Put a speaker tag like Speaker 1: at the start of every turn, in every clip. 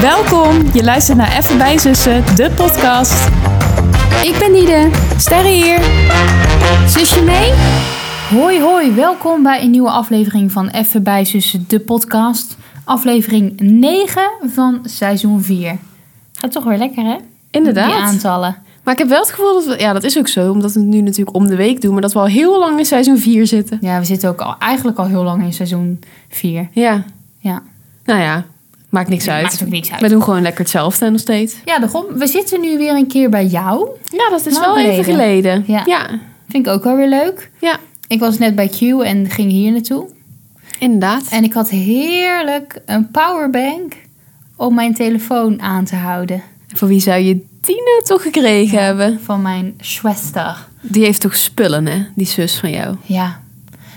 Speaker 1: Welkom, je luistert naar Even bij Zussen, de podcast.
Speaker 2: Ik ben Nide.
Speaker 1: Sterre hier.
Speaker 2: Zusje mee?
Speaker 3: Hoi hoi, welkom bij een nieuwe aflevering van Even bij Zussen, de podcast. Aflevering 9 van seizoen 4. Gaat toch weer lekker hè? Die
Speaker 1: Inderdaad.
Speaker 3: aantallen.
Speaker 1: Maar ik heb wel het gevoel dat we, ja, dat is ook zo, omdat we het nu natuurlijk om de week doen, maar dat we al heel lang in seizoen 4 zitten.
Speaker 3: Ja, we zitten ook al, eigenlijk al heel lang in seizoen 4.
Speaker 1: Ja,
Speaker 3: Ja,
Speaker 1: nou ja, maakt niks uit.
Speaker 3: maakt ook niks uit.
Speaker 1: We doen gewoon lekker hetzelfde nog steeds.
Speaker 3: Ja, daarom. We zitten nu weer een keer bij jou.
Speaker 1: Ja, dat is
Speaker 3: Lang
Speaker 1: wel even geleden.
Speaker 3: Ja.
Speaker 1: ja,
Speaker 3: Vind ik ook wel weer leuk.
Speaker 1: Ja.
Speaker 3: Ik was net bij Q en ging hier naartoe.
Speaker 1: inderdaad.
Speaker 3: En ik had heerlijk een powerbank om mijn telefoon aan te houden.
Speaker 1: Voor wie zou je die nou toch gekregen hebben?
Speaker 3: Van mijn schwester.
Speaker 1: Die heeft toch spullen, hè? Die zus van jou.
Speaker 3: Ja,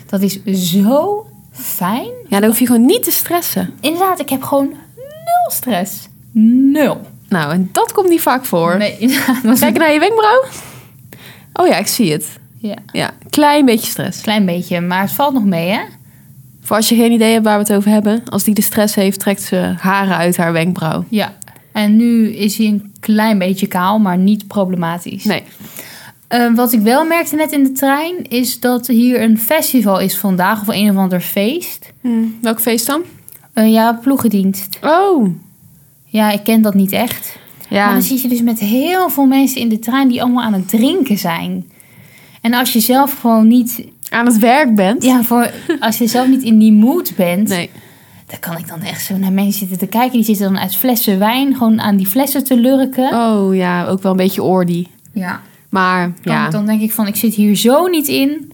Speaker 3: dat is zo fijn.
Speaker 1: Ja, dan hoef je gewoon niet te stressen.
Speaker 3: Inderdaad, ik heb gewoon nul stress. Nul.
Speaker 1: Nou, en dat komt niet vaak voor.
Speaker 3: Nee, inderdaad. was
Speaker 1: Kijk
Speaker 3: een
Speaker 1: naar je wenkbrauw. Oh ja, ik zie het.
Speaker 3: ja,
Speaker 1: Ja, klein beetje stress.
Speaker 3: klein beetje, maar het valt nog mee, hè?
Speaker 1: Voor als je geen idee hebt waar we het over hebben. Als die de stress heeft, trekt ze haren uit haar wenkbrauw.
Speaker 3: Ja. En nu is hij een klein beetje kaal, maar niet problematisch.
Speaker 1: Nee.
Speaker 3: Eh, wat ik wel merkte net in de trein, is dat hier een festival is vandaag, of een of ander feest.
Speaker 1: Welk feest dan?
Speaker 3: Eh, ja, ploegendienst.
Speaker 1: Oh.
Speaker 3: Ja, ik ken dat niet echt.
Speaker 1: Ja.
Speaker 3: Maar dan zit je dus met heel veel mensen in de trein die allemaal aan het drinken zijn. En als je zelf gewoon niet,
Speaker 1: Aan het werk bent?
Speaker 3: ja, voor, als je zelf niet in die mood bent,
Speaker 1: Nee.
Speaker 3: dan kan ik dan echt zo naar mensen zitten te kijken. Die zitten dan uit flessen wijn gewoon aan die flessen te lurken.
Speaker 1: Oh ja, ook wel een beetje oordie.
Speaker 3: Ja.
Speaker 1: Maar ja,
Speaker 3: Dan denk ik van, ik zit hier zo niet in.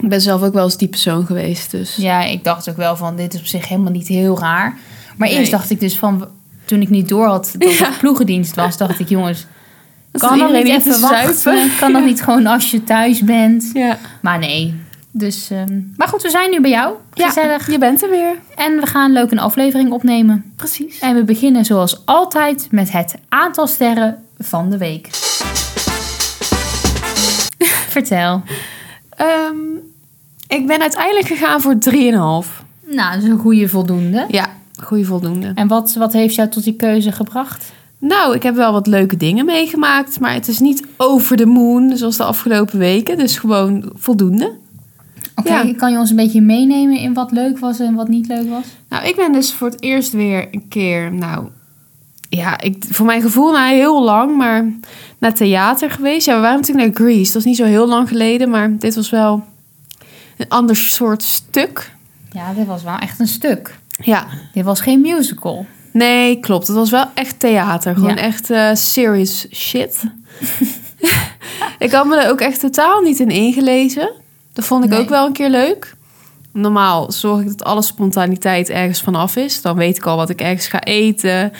Speaker 1: ik ben zelf ook wel eens die persoon geweest. Dus.
Speaker 3: Ja, ik dacht ook wel van, dit is op zich helemaal niet heel raar. Maar
Speaker 1: Nee.
Speaker 3: eerst dacht ik dus van, toen ik niet door had dat het ploegendienst was, dacht ik, jongens,
Speaker 1: Dat
Speaker 3: kan dat
Speaker 1: iedereen
Speaker 3: niet
Speaker 1: even
Speaker 3: even wachten?
Speaker 1: zuipen.
Speaker 3: Kan dat niet gewoon als je thuis bent?
Speaker 1: Ja.
Speaker 3: Maar nee. Dus, ehm, maar goed, we zijn nu bij jou.
Speaker 1: ja,
Speaker 3: Gezellig.
Speaker 1: je bent er weer.
Speaker 3: En we gaan leuk een aflevering opnemen.
Speaker 1: Precies.
Speaker 3: En we beginnen zoals altijd met het aantal sterren van de week. Vertel.
Speaker 1: Ehm, ik ben uiteindelijk gegaan voor 3,5.
Speaker 3: Nou, dat is een goede voldoende.
Speaker 1: Ja, goede voldoende.
Speaker 3: En wat, wat heeft jou tot die keuze gebracht?
Speaker 1: Nou, ik heb wel wat leuke dingen meegemaakt, maar het is niet over de moon zoals de afgelopen weken. Dus gewoon voldoende.
Speaker 3: Oké,
Speaker 1: Ja.
Speaker 3: kan je ons een beetje meenemen in wat leuk was en wat niet leuk was?
Speaker 1: Nou, ik ben dus voor het eerst weer een keer, nou, ja, ik, voor mijn gevoel na heel lang, maar naar theater geweest. Ja, we waren natuurlijk naar Greece. Dat is niet zo heel lang geleden, maar dit was wel een ander soort stuk.
Speaker 3: Ja, dit was wel echt een stuk.
Speaker 1: Ja,
Speaker 3: Dit was geen musical.
Speaker 1: nee, klopt. Het was wel echt theater. Gewoon
Speaker 3: Ja.
Speaker 1: echt eh, serious shit. ik had me er ook echt totaal niet in ingelezen. Dat vond ik
Speaker 3: Nee.
Speaker 1: ook wel een keer leuk. Normaal zorg ik dat alle spontaniteit ergens vanaf is. Dan weet ik al wat ik ergens ga eten.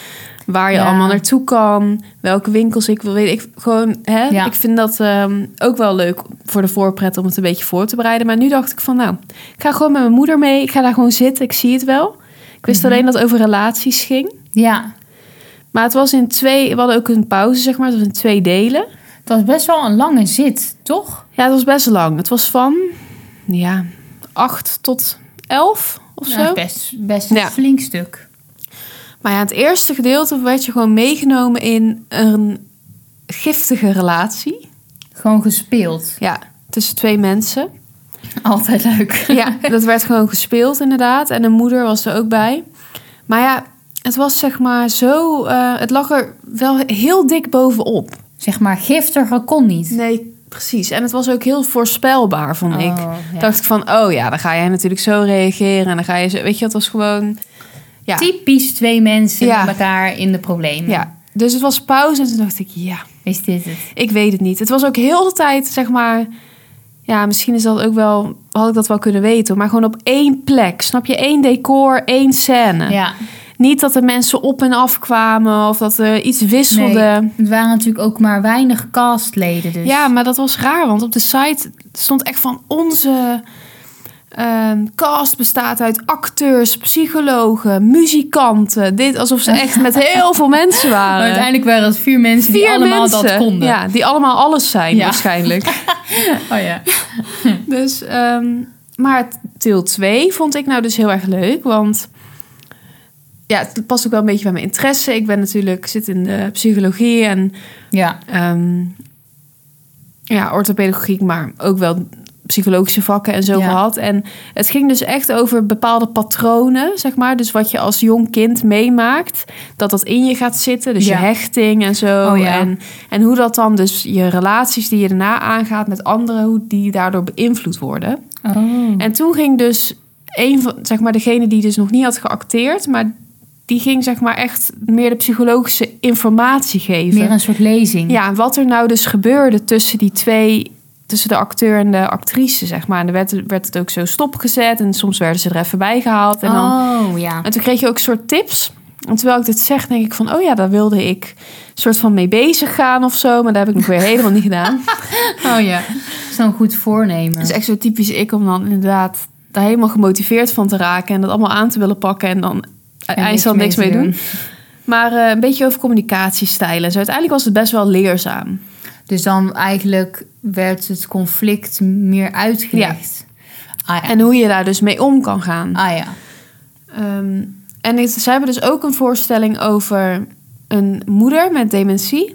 Speaker 1: Waar je
Speaker 3: Ja.
Speaker 1: allemaal naartoe kan. Welke winkels ik wil. Weet ik gewoon. Hè?
Speaker 3: Ja.
Speaker 1: Ik vind dat ehm, ook wel leuk voor de voorpret om het een beetje voor te bereiden. Maar nu dacht ik van nou, ik ga gewoon met mijn moeder mee. Ik ga daar gewoon zitten. Ik zie het wel. Ik
Speaker 3: Mhm.
Speaker 1: wist alleen dat het over relaties ging.
Speaker 3: Ja,
Speaker 1: Maar het was in twee. We hadden ook een pauze, zeg maar. Het was in twee delen.
Speaker 3: het was best wel een lange zit, toch?
Speaker 1: Ja, het was best lang. Het was van ja, 8 tot 11 of zo.
Speaker 3: Ja, best, best een
Speaker 1: Ja.
Speaker 3: flink stuk.
Speaker 1: Maar ja, het eerste gedeelte werd je gewoon meegenomen in een giftige relatie.
Speaker 3: Gewoon gespeeld.
Speaker 1: Ja, tussen twee mensen.
Speaker 3: Altijd leuk.
Speaker 1: Ja, dat werd gewoon gespeeld inderdaad. En de moeder was er ook bij. Maar ja, het was zeg maar zo... eh, het lag er wel heel dik bovenop.
Speaker 3: Zeg maar, giftiger kon niet.
Speaker 1: Nee, precies. En het was ook heel voorspelbaar, vond ik.
Speaker 3: Oh, ja.
Speaker 1: Dacht ik van, oh ja, dan ga jij natuurlijk zo reageren. En dan ga je zo... Weet je, het was gewoon... Ja.
Speaker 3: Typisch twee mensen
Speaker 1: Ja.
Speaker 3: met elkaar in de problemen.
Speaker 1: Ja, dus het was pauze en toen dacht ik, ja,
Speaker 3: Is dit het?
Speaker 1: ik weet het niet. Het was ook heel de tijd, zeg maar, ja, misschien is dat ook wel, had ik dat wel kunnen weten, maar gewoon op één plek, snap je? Eén decor, één scène.
Speaker 3: Ja.
Speaker 1: Niet dat er mensen op en af kwamen of dat er iets wisselde.
Speaker 3: Het waren natuurlijk ook maar weinig castleden dus.
Speaker 1: Ja, maar dat was raar, want op de site stond echt van onze ehm, cast bestaat uit acteurs, psychologen, muzikanten. Dit alsof ze echt met heel veel mensen
Speaker 3: Maar
Speaker 1: waren.
Speaker 3: uiteindelijk waren het vier mensen die allemaal dat konden.
Speaker 1: Ja, die allemaal alles zijn
Speaker 3: Ja.
Speaker 1: waarschijnlijk.
Speaker 3: Oh ja.
Speaker 1: dus, ehm, maar deel 2 vond ik nou dus heel erg leuk, want ja, het past ook wel een beetje bij mijn interesse. Ik ben natuurlijk, zit in de psychologie en
Speaker 3: Ja.
Speaker 1: ehm, ja, orthopedagogiek, maar ook wel psychologische vakken en zo
Speaker 3: Ja.
Speaker 1: gehad. En het ging dus echt over bepaalde patronen, zeg maar. Dus wat je als jong kind meemaakt, dat dat in je gaat zitten. Dus
Speaker 3: Ja.
Speaker 1: je hechting en zo.
Speaker 3: Oh ja.
Speaker 1: en, en hoe dat dan dus je relaties die je daarna aangaat met anderen, hoe die daardoor beïnvloed worden.
Speaker 3: Oh.
Speaker 1: En toen ging dus een van, zeg maar, degene die dus nog niet had geacteerd, maar die ging zeg maar echt meer de psychologische informatie geven.
Speaker 3: Meer een soort lezing.
Speaker 1: Ja, en wat er nou dus gebeurde tussen die twee, tussen de acteur en de actrice, zeg maar. En dan werd, werd het ook zo stopgezet en soms werden ze er even bij gehaald. En, dan,
Speaker 3: Oh, ja.
Speaker 1: en toen kreeg je ook soort tips. En terwijl ik dit zeg, denk ik van, oh ja, daar wilde ik soort van mee bezig gaan of zo. Maar dat heb ik nog weer helemaal niet gedaan.
Speaker 3: Oh ja. Dat is dan een goed voornemen.
Speaker 1: Het is echt zo typisch ik om dan inderdaad daar helemaal gemotiveerd van te raken en dat allemaal aan te willen pakken en dan eindstand niks mee
Speaker 3: te
Speaker 1: doen. Maar eh, een beetje over communicatiestijlen. Zo uiteindelijk was het best wel leerzaam.
Speaker 3: Dus dan eigenlijk werd het conflict meer uitgelegd. Ah ja.
Speaker 1: En hoe je daar dus mee om kan gaan.
Speaker 3: Ah ja.
Speaker 1: Ehm, en het- ze hebben dus ook een voorstelling over een moeder met dementie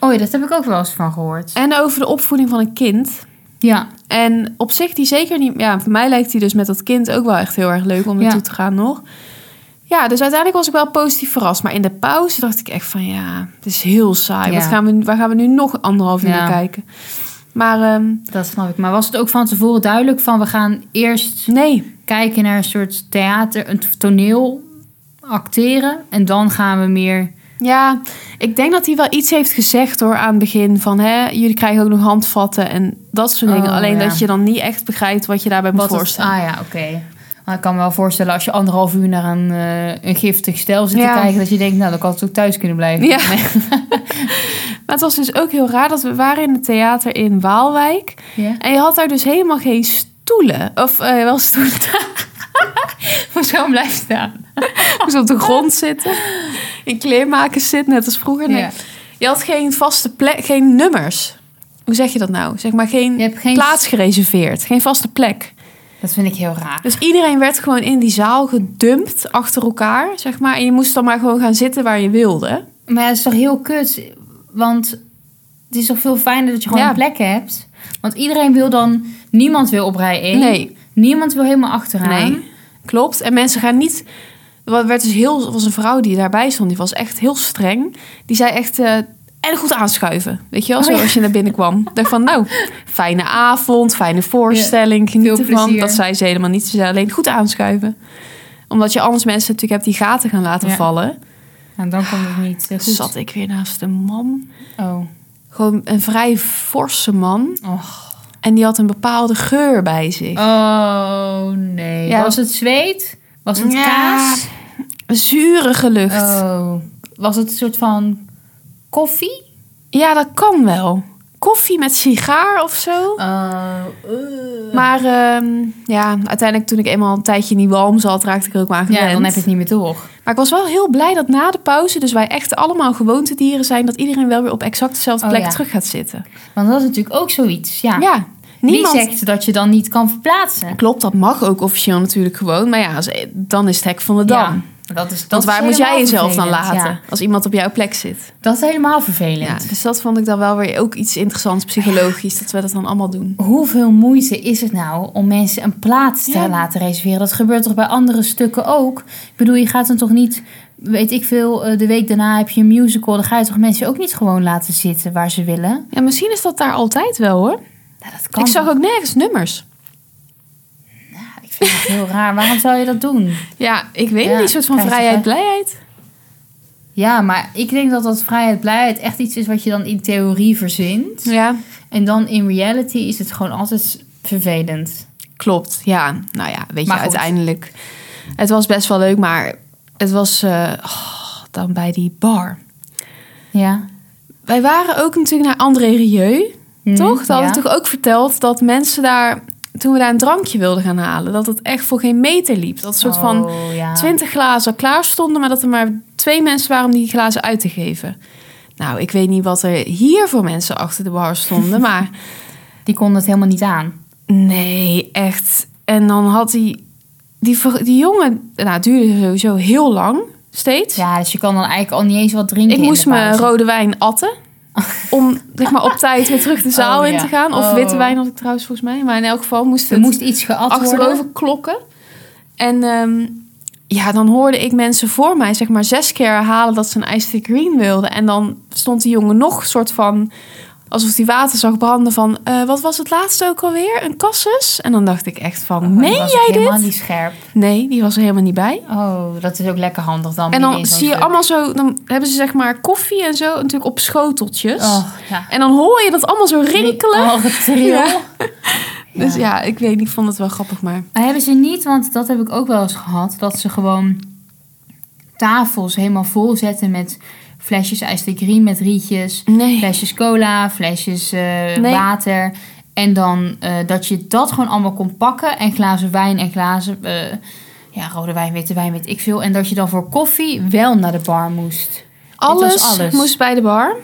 Speaker 3: Oh ja, dat heb ik ook wel eens van gehoord.
Speaker 1: en over de opvoeding van een kind.
Speaker 3: Ja.
Speaker 1: En op zich die zeker niet... Ja, voor mij lijkt die dus met dat kind ook wel echt heel erg leuk om naartoe
Speaker 3: Ja.
Speaker 1: te gaan nog. Ja, dus uiteindelijk was ik wel positief verrast. Maar in de pauze dacht ik echt van ja, het is heel saai.
Speaker 3: Ja.
Speaker 1: Wat gaan we, waar gaan we nu nog anderhalf uur
Speaker 3: Ja.
Speaker 1: naar kijken? Maar ehm,
Speaker 3: Dat snap ik. Maar was het ook van tevoren duidelijk van we gaan eerst
Speaker 1: nee,
Speaker 3: kijken naar een soort theater, een toneel, acteren en dan gaan we meer.
Speaker 1: ja, ik denk dat hij wel iets heeft gezegd hoor aan het begin. Van hè, jullie krijgen ook nog handvatten en dat soort dingen.
Speaker 3: Oh,
Speaker 1: Alleen
Speaker 3: ja.
Speaker 1: dat je dan niet echt begrijpt wat je daarbij moet
Speaker 3: het-
Speaker 1: voorstellen.
Speaker 3: ah ja, oké. Maar ik kan me wel voorstellen als je anderhalf uur naar een, eh, een giftig stel zit
Speaker 1: Ja.
Speaker 3: te kijken, dat je denkt, nou dan kan het ook thuis kunnen blijven.
Speaker 1: Ja. Maar het was dus ook heel raar dat we waren in het theater in Waalwijk.
Speaker 3: Ja.
Speaker 1: En je had daar dus helemaal geen stoelen. Of eh, wel stoelen.
Speaker 3: Voor zo blijft staan.
Speaker 1: moest op de grond zitten. In kleermakers zit, net als vroeger. Nee.
Speaker 3: Ja.
Speaker 1: Je had geen vaste plek, geen nummers. Hoe zeg je dat nou? Zeg maar geen,
Speaker 3: Je hebt geen
Speaker 1: plaats gereserveerd, geen vaste plek.
Speaker 3: Dat vind ik heel raar.
Speaker 1: Dus iedereen werd gewoon in die zaal gedumpt achter elkaar, zeg maar. En je moest dan maar gewoon gaan zitten waar je wilde.
Speaker 3: Maar het is toch heel kut, want het is toch veel fijner dat je gewoon
Speaker 1: Ja.
Speaker 3: een plek hebt. Want iedereen wil dan, niemand wil op rij één.
Speaker 1: Nee.
Speaker 3: Niemand wil helemaal achteraan.
Speaker 1: Nee, klopt. En mensen gaan niet. Er werd dus heel, er was een vrouw die daarbij stond, die was echt heel streng. Die zei echt. eh, en goed aanschuiven. Weet je wel,
Speaker 3: Oh,
Speaker 1: zo
Speaker 3: ja.
Speaker 1: als je naar binnen kwam. Dacht van, nou, fijne avond, fijne voorstelling.
Speaker 3: veel
Speaker 1: geniet ervan.
Speaker 3: plezier.
Speaker 1: Dat zei ze helemaal niet. Ze zei alleen goed aanschuiven. Omdat je anders mensen natuurlijk hebt die gaten gaan laten
Speaker 3: Ja.
Speaker 1: vallen.
Speaker 3: En Nou, dan komt het niet. eh, Goed.
Speaker 1: Zat ik weer naast een man.
Speaker 3: Oh.
Speaker 1: Gewoon een vrij forse man.
Speaker 3: Och.
Speaker 1: En die had een bepaalde geur bij zich.
Speaker 3: Oh nee.
Speaker 1: Ja.
Speaker 3: Was het zweet? Was het
Speaker 1: Ja.
Speaker 3: kaas?
Speaker 1: Een zurige lucht.
Speaker 3: Oh. Was het een soort van koffie?
Speaker 1: Ja, dat kan wel. Koffie met sigaar of zo.
Speaker 3: Oh.
Speaker 1: Maar ehm, ja, uiteindelijk toen ik eenmaal een tijdje in die walm zat, raakte ik er ook maar aan gewend.
Speaker 3: Ja, dan heb je het niet meer door.
Speaker 1: Maar ik was wel heel blij dat na de pauze, dus wij echt allemaal gewoontedieren zijn, dat iedereen wel weer op exact dezelfde
Speaker 3: Oh,
Speaker 1: plek
Speaker 3: ja.
Speaker 1: terug gaat zitten.
Speaker 3: Want dat is natuurlijk ook zoiets. Ja.
Speaker 1: Ja, niemand...
Speaker 3: Wie zegt dat je dan niet kan verplaatsen?
Speaker 1: Klopt, dat mag ook officieel natuurlijk gewoon. Maar ja, als- dan is het hek van de dam.
Speaker 3: Ja, dat is, dat
Speaker 1: Want
Speaker 3: is
Speaker 1: waar moet jij
Speaker 3: helemaal
Speaker 1: jezelf dan
Speaker 3: vervelend,
Speaker 1: laten
Speaker 3: ja.
Speaker 1: als iemand op jouw plek zit?
Speaker 3: Dat is helemaal
Speaker 1: Ja,
Speaker 3: vervelend.
Speaker 1: dus dat vond ik dan wel weer ook iets interessants psychologisch, dat we dat dan allemaal doen.
Speaker 3: Hoeveel moeite is het nou om mensen een plaats te
Speaker 1: Ja.
Speaker 3: laten reserveren? Dat gebeurt toch bij andere stukken ook? Ik bedoel, je gaat dan toch niet, weet ik veel, eh, de week daarna heb je een musical. Dan ga je toch mensen ook niet gewoon laten zitten waar ze willen?
Speaker 1: Ja, misschien is dat daar altijd wel hoor.
Speaker 3: Nou, dat kan.
Speaker 1: Ik zag ook nergens nummers.
Speaker 3: Ja, ik vind het heel raar. Waarom zou je dat doen?
Speaker 1: Ja, ik weet
Speaker 3: Ja,
Speaker 1: niet. Een soort van
Speaker 3: krijg je
Speaker 1: vrijheid,
Speaker 3: vri-
Speaker 1: blijheid.
Speaker 3: Ja, maar ik denk dat dat vrijheid, blijheid echt iets is wat je dan in theorie verzint.
Speaker 1: Ja,
Speaker 3: En dan in reality is het gewoon altijd vervelend.
Speaker 1: klopt. Ja, nou ja, weet
Speaker 3: Maar
Speaker 1: je,
Speaker 3: goed.
Speaker 1: uiteindelijk. Het was best wel leuk, maar het was eh, oh, dan bij die bar.
Speaker 3: Ja.
Speaker 1: Wij waren ook natuurlijk naar André Rieu,
Speaker 3: Hm,
Speaker 1: toch? Dat
Speaker 3: ja.
Speaker 1: had ik toch ook verteld dat mensen daar, toen we daar een drankje wilden gaan halen, dat het echt voor geen meter liep. Dat soort van
Speaker 3: Oh, ja.
Speaker 1: twintig glazen klaar stonden, maar dat er maar twee mensen waren om die glazen uit te geven. Nou, ik weet niet wat er hier voor mensen achter de bar stonden, maar
Speaker 3: Die kon het helemaal niet aan.
Speaker 1: Nee, echt. En dan had hij... Die, ver- die jongen... Nou, het duurde sowieso heel lang. Steeds.
Speaker 3: Ja, dus je kan dan eigenlijk al niet eens wat drinken.
Speaker 1: ik
Speaker 3: in de
Speaker 1: moest mijn
Speaker 3: pauze.
Speaker 1: rode wijn atten. Om zeg maar, op tijd weer terug de zaal
Speaker 3: Oh,
Speaker 1: in
Speaker 3: ja.
Speaker 1: te gaan. Of
Speaker 3: Oh.
Speaker 1: witte wijn had ik trouwens volgens mij. Maar in elk geval moest
Speaker 3: Er
Speaker 1: het
Speaker 3: moest iets geat worden.
Speaker 1: achterover klokken. En ehm, ja, dan hoorde ik mensen voor mij zeg maar zes keer herhalen dat ze een iced tea green wilden. En dan stond die jongen nog soort van... Alsof die water zag branden van... eh, wat was het laatste ook alweer? Een cassus? En dan dacht ik echt van...
Speaker 3: Dan
Speaker 1: meen
Speaker 3: Oh, was ik
Speaker 1: jij dit?
Speaker 3: helemaal niet scherp.
Speaker 1: Nee, die was er helemaal niet bij.
Speaker 3: Oh, dat is ook lekker handig dan.
Speaker 1: En
Speaker 3: midden
Speaker 1: dan
Speaker 3: in zo'n
Speaker 1: zie je
Speaker 3: druk.
Speaker 1: allemaal zo... Dan hebben ze zeg maar koffie en zo natuurlijk op schoteltjes.
Speaker 3: Oh, ja.
Speaker 1: En dan hoor je dat allemaal zo rinkelen.
Speaker 3: Oh, wat trio.
Speaker 1: Ja. Dus
Speaker 3: Ja.
Speaker 1: ja, ik weet niet, ik vond het wel grappig, maar...
Speaker 3: Maar hebben ze niet, want dat heb ik ook wel eens gehad, dat ze gewoon tafels helemaal vol zetten met flesjes ijs de green met rietjes,
Speaker 1: Nee.
Speaker 3: flesjes cola, flesjes eh,
Speaker 1: Nee.
Speaker 3: water. En dan eh, dat je dat gewoon allemaal kon pakken en glazen wijn en glazen, eh, ja, rode wijn, witte wijn, weet ik veel. En dat je dan voor koffie wel naar de bar moest.
Speaker 1: Alles,
Speaker 3: Dit was alles.
Speaker 1: moest bij de bar.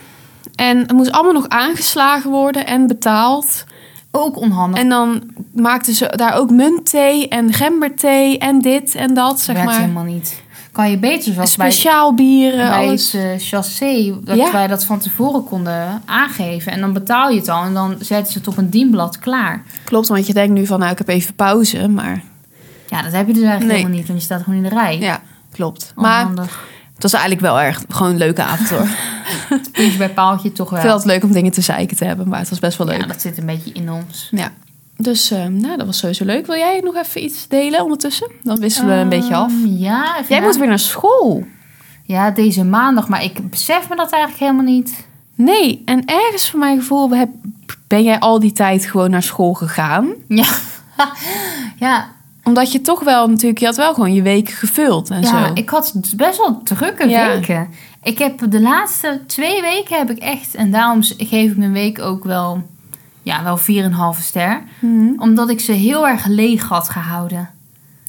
Speaker 1: En het moest allemaal nog aangeslagen worden en betaald.
Speaker 3: Ook onhandig.
Speaker 1: En dan maakten ze daar ook muntthee en gemberthee en dit en dat, zeg
Speaker 3: werkt
Speaker 1: maar.
Speaker 3: helemaal niet. Kan je beter zoals bij
Speaker 1: Speciaal bieren,
Speaker 3: bij
Speaker 1: alles.
Speaker 3: het eh, chassé, dat
Speaker 1: Ja.
Speaker 3: wij dat van tevoren konden aangeven. En dan betaal je het al en dan zetten ze het op een dienblad klaar.
Speaker 1: Klopt, want je denkt nu van, nou, ik heb even pauze, maar...
Speaker 3: Ja, dat heb je dus eigenlijk
Speaker 1: Nee.
Speaker 3: helemaal niet, want je staat gewoon in de rij.
Speaker 1: Ja, klopt.
Speaker 3: Oh,
Speaker 1: Maar
Speaker 3: Onhandig.
Speaker 1: het was eigenlijk wel erg, gewoon een leuke avond, hoor.
Speaker 3: Puntje bij paaltje toch
Speaker 1: Ik
Speaker 3: wel.
Speaker 1: vind het leuk om dingen te zeiken te hebben, maar het was best wel leuk.
Speaker 3: Ja,
Speaker 1: Ja.
Speaker 3: dat zit een beetje in ons.
Speaker 1: Dus, eh, nou, dat was sowieso leuk. Wil jij nog even iets delen ondertussen? Dan wisselen we een beetje af.
Speaker 3: Ehm, Ja, even
Speaker 1: Jij
Speaker 3: na-
Speaker 1: moet weer naar school.
Speaker 3: ja, deze maandag, maar ik besef me dat eigenlijk helemaal niet.
Speaker 1: Nee, en ergens voor mijn gevoel heb- ben jij al die tijd gewoon naar school gegaan.
Speaker 3: Ja, ja,
Speaker 1: Omdat je toch wel natuurlijk, je had wel gewoon je week gevuld en
Speaker 3: ja
Speaker 1: zo.
Speaker 3: ik had best wel drukke
Speaker 1: Ja.
Speaker 3: weken. Ik heb de laatste twee weken heb ik echt, en daarom geef ik mijn week ook wel, ja, wel 4,5 ster.
Speaker 1: Mhm.
Speaker 3: Omdat ik ze heel erg leeg had gehouden.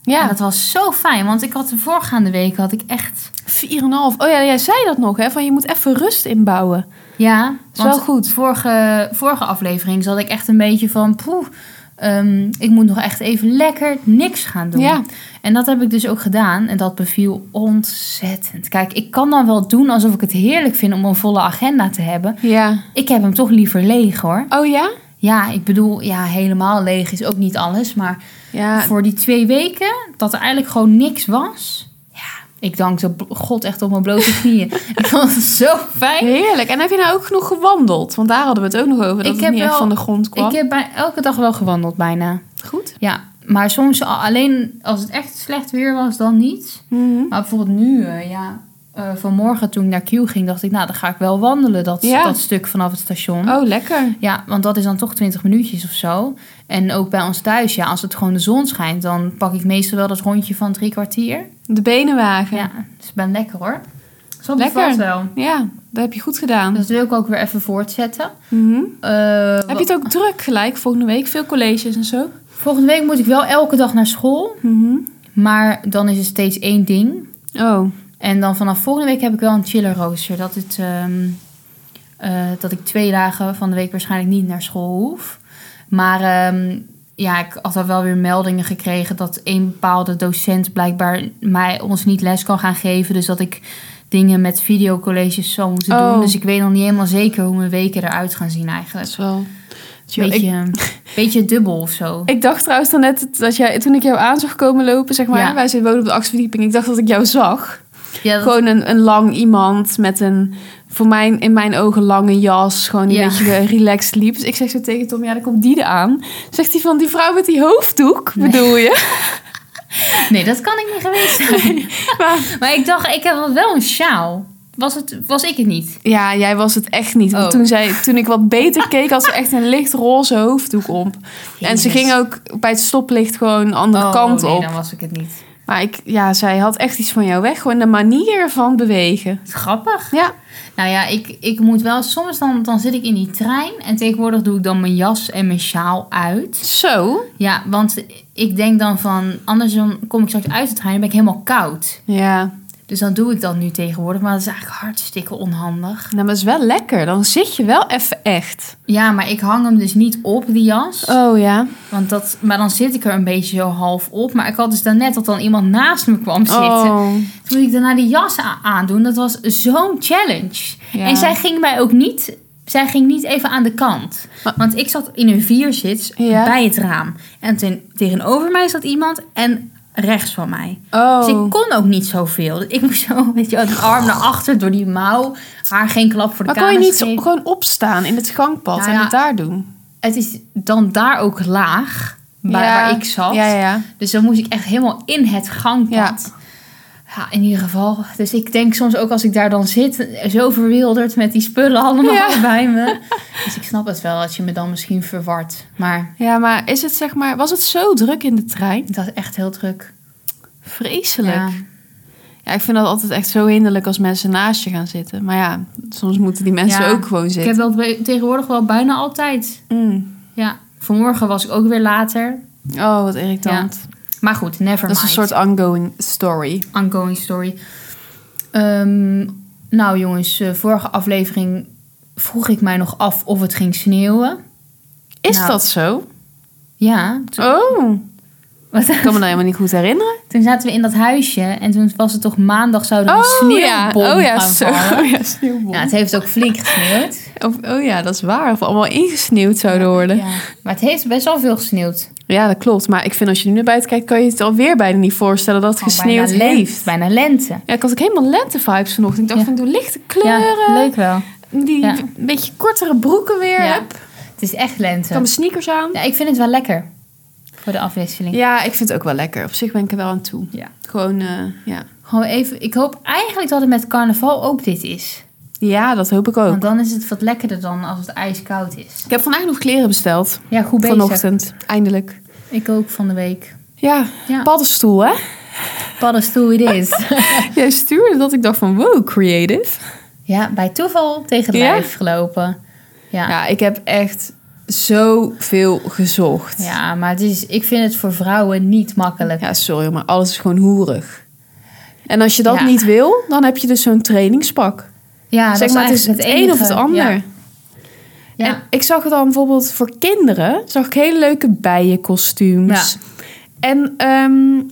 Speaker 3: En
Speaker 1: Ja,
Speaker 3: dat was zo fijn, want ik had de voorgaande week had ik echt...
Speaker 1: 4,5. Oh ja, jij zei dat nog, hè? Van je moet even rust inbouwen.
Speaker 3: Ja,
Speaker 1: Is wel goed.
Speaker 3: Vorige, vorige aflevering zat ik echt een beetje van... Poeh, ehm, ik moet nog echt even lekker niks gaan doen.
Speaker 1: Ja.
Speaker 3: En dat heb ik dus ook gedaan. En dat beviel ontzettend. Kijk, ik kan dan wel doen alsof ik het heerlijk vind om een volle agenda te hebben.
Speaker 1: Ja.
Speaker 3: Ik heb hem toch liever leeg, hoor.
Speaker 1: Oh ja?
Speaker 3: Ja, ik bedoel, ja, helemaal leeg is ook niet alles. Maar
Speaker 1: Ja.
Speaker 3: voor die twee weken dat er eigenlijk gewoon niks was. Ja, ik dankte b- God echt op mijn blote knieën. ik vond het zo fijn.
Speaker 1: Heerlijk. En heb je nou ook genoeg gewandeld? Want daar hadden we het ook nog over, dat
Speaker 3: Ik
Speaker 1: het
Speaker 3: heb
Speaker 1: niet echt
Speaker 3: wel-
Speaker 1: van de grond kwam.
Speaker 3: Ik heb bij elke dag wel gewandeld bijna.
Speaker 1: Goed.
Speaker 3: Ja, maar soms a- alleen als het echt slecht weer was, dan niet. Maar bijvoorbeeld nu, eh, ja, eh, vanmorgen toen ik naar Q ging, dacht ik, nou, dan ga ik wel wandelen dat,
Speaker 1: Ja.
Speaker 3: dat stuk vanaf het station.
Speaker 1: Oh, lekker.
Speaker 3: Ja, want dat is dan toch 20 minuutjes of zo. En ook bij ons thuis, ja, als het gewoon de zon schijnt, dan pak ik meestal wel dat rondje van drie kwartier.
Speaker 1: De benenwagen.
Speaker 3: Ja, dus ik ben lekker hoor. Zo
Speaker 1: Lekker.
Speaker 3: bevalt wel.
Speaker 1: Ja, dat heb je goed gedaan.
Speaker 3: Dat wil ik ook weer even voortzetten.
Speaker 1: Mhm.
Speaker 3: Eh,
Speaker 1: Heb je het ook druk gelijk volgende week? Veel colleges en zo?
Speaker 3: Volgende week moet ik wel elke dag naar school.
Speaker 1: Mhm.
Speaker 3: Maar dan is het steeds één ding.
Speaker 1: Oh,
Speaker 3: En dan vanaf volgende week heb ik wel een chiller rooster. Dat, het, ehm, eh, dat ik twee dagen van de week waarschijnlijk niet naar school hoef. Maar ehm, ja, ik had al wel weer meldingen gekregen dat een bepaalde docent blijkbaar mij, ons niet les kan gaan geven. Dus dat ik dingen met videocolleges zou moeten
Speaker 1: Oh.
Speaker 3: doen. Dus ik weet nog niet helemaal zeker hoe mijn weken eruit gaan zien
Speaker 1: dat
Speaker 3: eigenlijk.
Speaker 1: is wel...
Speaker 3: Een
Speaker 1: ik,
Speaker 3: beetje, beetje dubbel of zo.
Speaker 1: Dus ik dacht trouwens dan net dat jij, toen ik jou aan zag komen lopen, zeg maar,
Speaker 3: Ja.
Speaker 1: wij zitten wonen op de achtste verdieping, ik dacht dat ik jou zag.
Speaker 3: Ja, dat-
Speaker 1: Gewoon een, een lang iemand met een, voor mij, in mijn ogen, lange jas, gewoon die
Speaker 3: Ja.
Speaker 1: een beetje eh, relaxed liep. Dus ik zeg zo tegen Tom, ja, dan komt die er aan. Zegt hij van, die vrouw met die hoofddoek,
Speaker 3: Nee.
Speaker 1: bedoel je?
Speaker 3: Nee, dat kan ik niet geweest zijn.
Speaker 1: Maar-
Speaker 3: Maar ik dacht, ik heb wel een sjaal. Was, het, was ik het niet?
Speaker 1: ja, jij was het echt niet. Want
Speaker 3: Oh.
Speaker 1: Toen, zij, toen ik wat beter keek, had ze echt een licht roze hoofddoek om. En ze
Speaker 3: Jezus.
Speaker 1: ging ook bij het stoplicht gewoon de andere
Speaker 3: Oh,
Speaker 1: kant
Speaker 3: nee,
Speaker 1: op.
Speaker 3: dan was ik het niet.
Speaker 1: Maar ik, ja, zij had echt iets van jou weg. Gewoon de manier van bewegen.
Speaker 3: Grappig.
Speaker 1: Ja.
Speaker 3: Nou ja, ik, ik moet wel... Soms dan, dan zit ik in die trein. En tegenwoordig doe ik dan mijn jas en mijn sjaal uit.
Speaker 1: Zo.
Speaker 3: Ja, want ik denk dan van... Anders dan kom ik straks uit de trein en ben ik helemaal koud.
Speaker 1: Ja.
Speaker 3: Dus dan doe ik dat nu tegenwoordig. Maar dat is eigenlijk hartstikke onhandig.
Speaker 1: Nou, maar is wel lekker. Dan zit je wel even echt.
Speaker 3: Ja, maar ik hang hem dus niet op, die jas.
Speaker 1: Oh ja.
Speaker 3: Want dat, maar dan zit ik er een beetje zo half op. Maar ik had dus daarnet dat dan iemand naast me kwam zitten.
Speaker 1: Oh.
Speaker 3: Toen moest ik daarna die jas a- aandoen. Dat was zo'n challenge.
Speaker 1: Ja.
Speaker 3: En zij ging mij ook niet... Zij ging niet even aan de kant.
Speaker 1: Maar-
Speaker 3: Want ik zat in een vierzits
Speaker 1: Ja.
Speaker 3: bij het raam. En ten- tegenover mij zat iemand en rechts van mij.
Speaker 1: Oh.
Speaker 3: Dus ik kon ook niet zoveel. Ik moest zo, weet je wel, die arm naar achter door die mouw. Haar geen klap voor de
Speaker 1: maar kon je
Speaker 3: kamers
Speaker 1: niet zo-
Speaker 3: geven.
Speaker 1: gewoon opstaan in het gangpad
Speaker 3: Nou
Speaker 1: en
Speaker 3: ja,
Speaker 1: het daar doen?
Speaker 3: Het is dan daar ook laag, waar,
Speaker 1: Ja.
Speaker 3: waar ik zat.
Speaker 1: Ja, ja.
Speaker 3: Dus dan moest ik echt helemaal in het gangpad. Ja. in ieder geval. Dus ik denk soms ook als ik daar dan zit, zo verwilderd met die spullen allemaal
Speaker 1: Ja.
Speaker 3: bij me. Dus ik snap het wel dat je me dan misschien verward. Maar
Speaker 1: Ja, maar is het zeg maar... Was het zo druk in de trein?
Speaker 3: dat is echt heel druk.
Speaker 1: Vreselijk. Ja. ik vind dat altijd echt zo hinderlijk als mensen naast je gaan zitten. Maar ja, soms moeten die mensen
Speaker 3: Ja.
Speaker 1: ook gewoon
Speaker 3: Ik
Speaker 1: zitten.
Speaker 3: heb dat bij- tegenwoordig wel bijna altijd.
Speaker 1: Mm.
Speaker 3: Ja, vanmorgen was ik ook weer later.
Speaker 1: Oh, wat irritant.
Speaker 3: Maar goed, never
Speaker 1: Dat is een
Speaker 3: mind.
Speaker 1: soort ongoing story.
Speaker 3: ongoing story. Ehm, nou jongens, eh, vorige aflevering vroeg ik mij nog af of het ging sneeuwen.
Speaker 1: Is
Speaker 3: Nou.
Speaker 1: dat zo?
Speaker 3: Ja. Toen,
Speaker 1: Oh,
Speaker 3: wat-
Speaker 1: ik kan me dat helemaal niet goed herinneren.
Speaker 3: toen zaten we in dat huisje en toen was het toch maandag zouden we een sneeuwbom
Speaker 1: oh ja,
Speaker 3: gaan
Speaker 1: zo.
Speaker 3: vallen.
Speaker 1: Oh ja, sneeuwbom.
Speaker 3: Ja, het heeft ook flink gesneeuwd.
Speaker 1: Of, oh ja, dat is waar. Of we allemaal ingesneeuwd zouden worden. Ja.
Speaker 3: Ja, maar het heeft best wel veel gesneeuwd.
Speaker 1: dat klopt. Maar ik vind als je nu naar buiten kijkt, kan je het alweer bijna niet voorstellen dat het
Speaker 3: Al
Speaker 1: gesneeuwd
Speaker 3: bijna
Speaker 1: heeft.
Speaker 3: Lente, bijna lente.
Speaker 1: Ja, ik had ook helemaal lente-vibes vanochtend. Ik dacht
Speaker 3: Ja.
Speaker 1: van, doe lichte
Speaker 3: Ja,
Speaker 1: kleuren.
Speaker 3: leuk wel.
Speaker 1: Die
Speaker 3: Ja.
Speaker 1: een beetje kortere broeken weer
Speaker 3: Ja.
Speaker 1: heb.
Speaker 3: Het is echt
Speaker 1: Ik kan
Speaker 3: lente.
Speaker 1: mijn sneakers aan.
Speaker 3: Ja, ik vind het wel lekker voor de afwisseling.
Speaker 1: Ja, ik vind het ook wel lekker. Op zich ben ik er wel aan toe.
Speaker 3: Ja.
Speaker 1: Gewoon, eh, ja.
Speaker 3: Gewoon even, ik hoop eigenlijk dat het met carnaval ook dit is.
Speaker 1: Ja, dat hoop ik ook.
Speaker 3: Want dan is het wat lekkerder dan als het ijskoud is.
Speaker 1: Ik heb vandaag nog kleren besteld.
Speaker 3: Ja, goed bezig.
Speaker 1: Vanochtend, eindelijk.
Speaker 3: Ik ook van de week.
Speaker 1: Ja,
Speaker 3: Ja.
Speaker 1: paddenstoel, hè?
Speaker 3: Paddenstoel it is.
Speaker 1: Jij stuurde dat ik dacht van, wow, creative.
Speaker 3: ja, bij toeval tegen het
Speaker 1: Ja?
Speaker 3: lijf gelopen. Ja. ja.
Speaker 1: Ja, ik heb echt zoveel gezocht.
Speaker 3: maar het is, ik vind het voor vrouwen niet makkelijk.
Speaker 1: Ja, sorry, maar alles is gewoon hoerig. En als je dat
Speaker 3: Ja.
Speaker 1: niet wil, dan heb je dus zo'n trainingspak.
Speaker 3: Ja,
Speaker 1: zeg
Speaker 3: dat
Speaker 1: maar, het is het,
Speaker 3: eigenlijk
Speaker 1: een of
Speaker 3: enige.
Speaker 1: het ander.
Speaker 3: Ja. Ja.
Speaker 1: En ik zag het dan bijvoorbeeld voor kinderen. Zag ik hele leuke bijenkostuums. En ehm,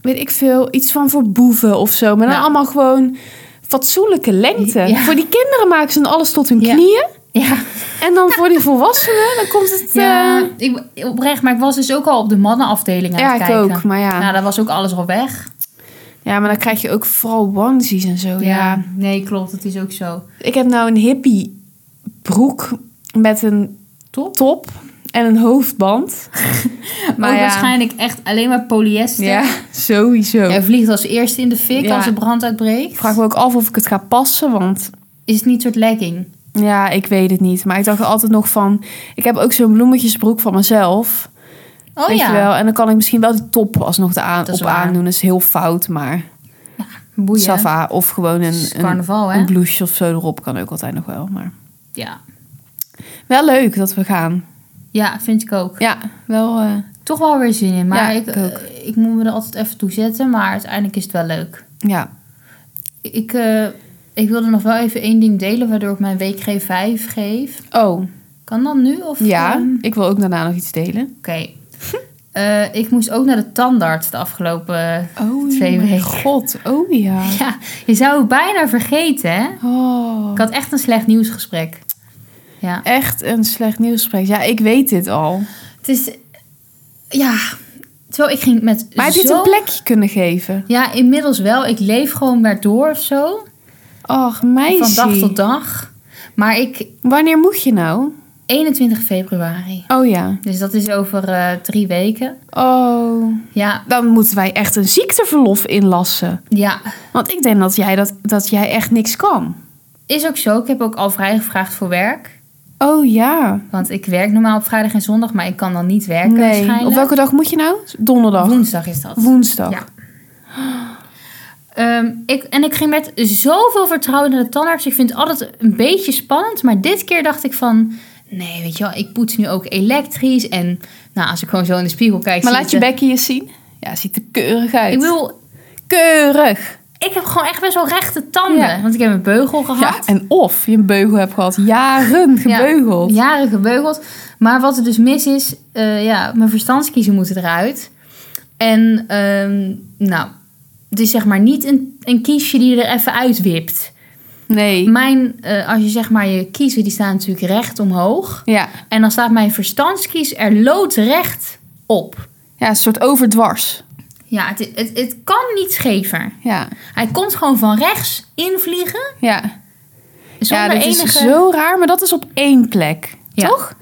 Speaker 1: weet ik veel, iets van voor boeven of zo. Maar dan
Speaker 3: Ja.
Speaker 1: allemaal gewoon fatsoenlijke lengte.
Speaker 3: Ja.
Speaker 1: Voor die kinderen maken ze dan alles tot hun
Speaker 3: Ja.
Speaker 1: knieën.
Speaker 3: Ja.
Speaker 1: En dan voor die volwassenen, dan komt het...
Speaker 3: Ja,
Speaker 1: eh,
Speaker 3: ik, oprecht, maar ik was dus ook al op de mannenafdeling aan
Speaker 1: ja,
Speaker 3: het
Speaker 1: ik
Speaker 3: kijken.
Speaker 1: ook. Maar ja.
Speaker 3: Nou, daar was ook alles al weg.
Speaker 1: ja, maar dan krijg je ook vooral onesies en zo. Oh, Ja.
Speaker 3: Nee, klopt. Het is ook zo.
Speaker 1: Ik heb nou een hippie broek met een top, en een hoofdband.
Speaker 3: Maar
Speaker 1: ja.
Speaker 3: waarschijnlijk echt alleen maar polyester.
Speaker 1: Ja, sowieso.
Speaker 3: Jij vliegt als eerste in de fik
Speaker 1: Ja.
Speaker 3: als er brand uitbreekt.
Speaker 1: Ik vraag me ook af of ik het ga passen, want
Speaker 3: Is het niet een soort legging?
Speaker 1: ja, ik weet het niet. Maar ik dacht altijd nog van, ik heb ook zo'n bloemetjesbroek van mezelf.
Speaker 3: Oh
Speaker 1: weet je wel? En dan kan ik misschien wel die top alsnog de aan,
Speaker 3: Dat is
Speaker 1: op
Speaker 3: waar.
Speaker 1: aandoen. Dat is heel fout, maar
Speaker 3: boeien.
Speaker 1: Sava of gewoon
Speaker 3: Het is
Speaker 1: een, een,
Speaker 3: carnaval, Oh, hè?
Speaker 1: een blouseje of zo erop kan ook altijd nog wel. Maar
Speaker 3: ja.
Speaker 1: wel leuk dat we gaan.
Speaker 3: ja, vind ik ook.
Speaker 1: Ja, wel. eh,
Speaker 3: Toch wel weer zin in. Maar
Speaker 1: Ja,
Speaker 3: ik,
Speaker 1: ik ook.
Speaker 3: eh, ik moet me er altijd even toe zetten. Maar uiteindelijk is het wel leuk.
Speaker 1: ja.
Speaker 3: Ik, eh, ik wilde nog wel even één ding delen... waardoor ik mijn week G5 geef.
Speaker 1: Oh,
Speaker 3: Kan dat nu? Of,
Speaker 1: ja.
Speaker 3: ehm,
Speaker 1: Ik wil ook daarna nog iets delen.
Speaker 3: Oké. Eh, ik moest ook naar de tandarts de afgelopen...
Speaker 1: Oh,
Speaker 3: Twee
Speaker 1: mijn
Speaker 3: weken.
Speaker 1: god. Oh ja.
Speaker 3: Ja, je zou het bijna vergeten, hè?
Speaker 1: Oh.
Speaker 3: Ik had echt een slecht nieuwsgesprek. Ja.
Speaker 1: Echt een slecht nieuwsgesprek. Ja, ik weet dit al.
Speaker 3: Het is... Ja. Terwijl ik ging met
Speaker 1: Maar heb je het
Speaker 3: zo-
Speaker 1: een plekje kunnen geven?
Speaker 3: Ja, inmiddels wel. Ik leef gewoon maar door of zo.
Speaker 1: Och,
Speaker 3: Van
Speaker 1: meisje.
Speaker 3: dag tot dag. Maar ik...
Speaker 1: Wanneer moet je nou?
Speaker 3: 21 februari.
Speaker 1: Oh ja.
Speaker 3: Dus dat is over eh, drie weken.
Speaker 1: Oh.
Speaker 3: Ja,
Speaker 1: Dan moeten wij echt een ziekteverlof inlassen.
Speaker 3: ja.
Speaker 1: Want ik denk dat jij, dat, dat jij echt niks kan.
Speaker 3: Is ook zo. Ik heb ook al vrijgevraagd voor werk.
Speaker 1: Oh ja.
Speaker 3: Want ik werk normaal op vrijdag en zondag. Maar ik kan dan niet werken
Speaker 1: Nee.
Speaker 3: waarschijnlijk.
Speaker 1: Op welke dag moet je nou? Donderdag.
Speaker 3: Woensdag is dat.
Speaker 1: Woensdag.
Speaker 3: Ja. Ehm, ik, en ik ging met zoveel vertrouwen naar de tandarts. Ik vind het altijd een beetje spannend. Maar dit keer dacht ik van... Nee, weet je wel, ik poets nu ook elektrisch. En nou, als ik gewoon zo in de spiegel kijk...
Speaker 1: Maar
Speaker 3: zie
Speaker 1: laat
Speaker 3: ik
Speaker 1: je
Speaker 3: de-
Speaker 1: bekkie eens zien. Ja, ziet er keurig uit.
Speaker 3: Ik bedoel,
Speaker 1: Keurig.
Speaker 3: ik heb gewoon echt best wel rechte tanden.
Speaker 1: Ja.
Speaker 3: Want ik heb een beugel gehad.
Speaker 1: Ja, en of je een beugel hebt gehad. Jaren gebeugeld.
Speaker 3: Ja, jaren gebeugeld. Maar wat er dus mis is, eh, ja, mijn verstandskiezen moeten eruit. En ehm, nou, het is zeg maar niet een, een kiesje die je er even uitwipt.
Speaker 1: Nee.
Speaker 3: Mijn, eh, als je zeg maar je kiezen, die staan natuurlijk recht omhoog.
Speaker 1: Ja.
Speaker 3: En dan staat mijn verstandskies er loodrecht op.
Speaker 1: ja, een soort overdwars.
Speaker 3: Ja, het, het, het kan niet schever.
Speaker 1: Ja,
Speaker 3: Hij komt gewoon van rechts invliegen.
Speaker 1: ja. ja
Speaker 3: Zonder
Speaker 1: dat
Speaker 3: enige...
Speaker 1: is zo raar, maar dat is op één plek.
Speaker 3: Ja.
Speaker 1: Toch?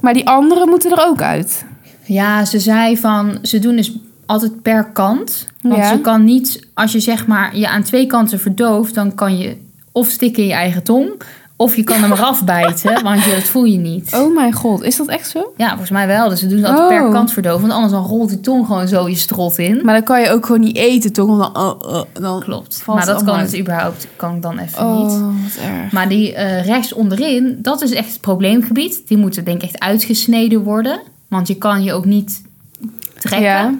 Speaker 1: Maar die anderen moeten er ook uit.
Speaker 3: Ja, ze zei van ze doen dus altijd per kant. Want
Speaker 1: Ja.
Speaker 3: ze kan niet, als je zeg maar je aan twee kanten verdooft, dan kan je of stikken in je eigen tong, of je kan hem eraf bijten, want je, dat voel je niet.
Speaker 1: Oh mijn god, is dat echt zo?
Speaker 3: Ja, volgens mij wel. Dus ze doen het altijd
Speaker 1: Oh.
Speaker 3: per kant verdoven, want anders dan rolt die tong gewoon zo je strot in.
Speaker 1: Maar dan kan je ook gewoon niet eten, toch? Want dan, oh, oh, dan
Speaker 3: Klopt.
Speaker 1: valt
Speaker 3: maar dat kan
Speaker 1: allemaal
Speaker 3: het überhaupt kan ik dan even
Speaker 1: uit.
Speaker 3: niet.
Speaker 1: Oh, wat erg.
Speaker 3: Maar die eh, rechts onderin, dat is echt het probleemgebied. Die moeten denk ik echt uitgesneden worden. Want je kan je ook niet trekken.
Speaker 1: Ja.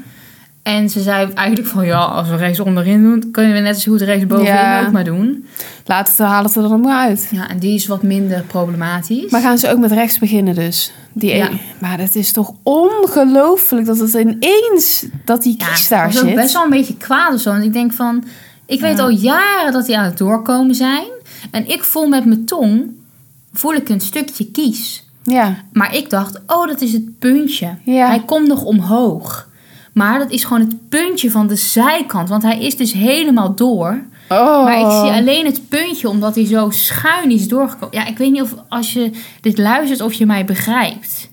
Speaker 3: En ze zei eigenlijk van ja, als we rechts onderin doen, kunnen we net zo goed rechts bovenin
Speaker 1: Ja.
Speaker 3: ook maar doen.
Speaker 1: Laat het, halen ze er dan maar uit.
Speaker 3: Ja, en die is wat minder problematisch.
Speaker 1: Maar gaan ze ook met rechts beginnen dus? Die
Speaker 3: Ja.
Speaker 1: een- Maar dat is toch ongelooflijk dat het ineens dat die kies
Speaker 3: ja,
Speaker 1: daar
Speaker 3: ik was ook
Speaker 1: zit.
Speaker 3: best wel een beetje kwaad of zo. Want ik denk van, ik weet al jaren dat die aan het doorkomen zijn. En ik voel met mijn tong, voel ik een stukje kies.
Speaker 1: Ja,
Speaker 3: Maar ik dacht, oh, dat is het puntje.
Speaker 1: Ja.
Speaker 3: Hij komt nog omhoog. Maar dat is gewoon het puntje van de zijkant. Want hij is dus helemaal door.
Speaker 1: oh.
Speaker 3: Maar ik zie alleen het puntje omdat hij zo schuin is doorgekomen. Ja, ik weet niet of als je dit luistert of je mij begrijpt.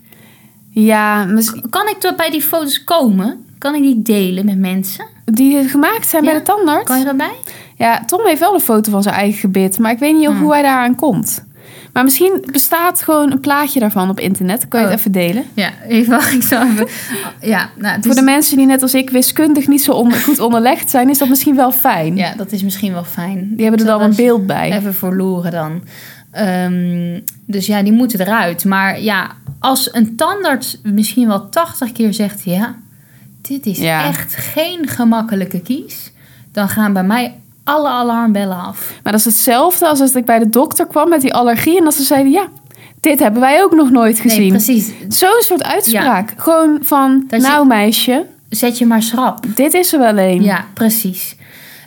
Speaker 1: ja, mis-
Speaker 3: Kan ik tot bij die foto's komen? Kan ik die delen met mensen?
Speaker 1: die gemaakt zijn bij
Speaker 3: Ja?
Speaker 1: de tandarts.
Speaker 3: Kan je daarbij?
Speaker 1: Ja, Tom heeft wel een foto van zijn eigen gebit, maar ik weet niet of
Speaker 3: Ah.
Speaker 1: hoe hij daaraan komt. Maar misschien bestaat gewoon een plaatje daarvan op internet. Kan je
Speaker 3: Oh.
Speaker 1: het even delen?
Speaker 3: Ja, even wacht. Ik zal even... Ja, nou, dus...
Speaker 1: Voor de mensen die net als ik wiskundig niet zo onder- goed onderlegd zijn, is dat misschien wel fijn.
Speaker 3: ja, dat is misschien wel fijn.
Speaker 1: Die hebben er dan een beeld bij.
Speaker 3: Even verloren dan. Ehm, dus ja, die moeten eruit. Maar ja, als een tandarts misschien wel 80 keer zegt: ja, dit is
Speaker 1: Ja.
Speaker 3: echt geen gemakkelijke kies, dan gaan bij mij alle alarmbellen af.
Speaker 1: Maar dat is hetzelfde als als ik bij de dokter kwam met die allergie en dat ze zeiden: ja, dit hebben wij ook nog nooit
Speaker 3: Nee,
Speaker 1: gezien.
Speaker 3: precies.
Speaker 1: Zo'n soort uitspraak. Gewoon van,
Speaker 3: Dat je-
Speaker 1: nou meisje,
Speaker 3: Zet je maar schrap.
Speaker 1: dit is er wel een.
Speaker 3: Ja, precies.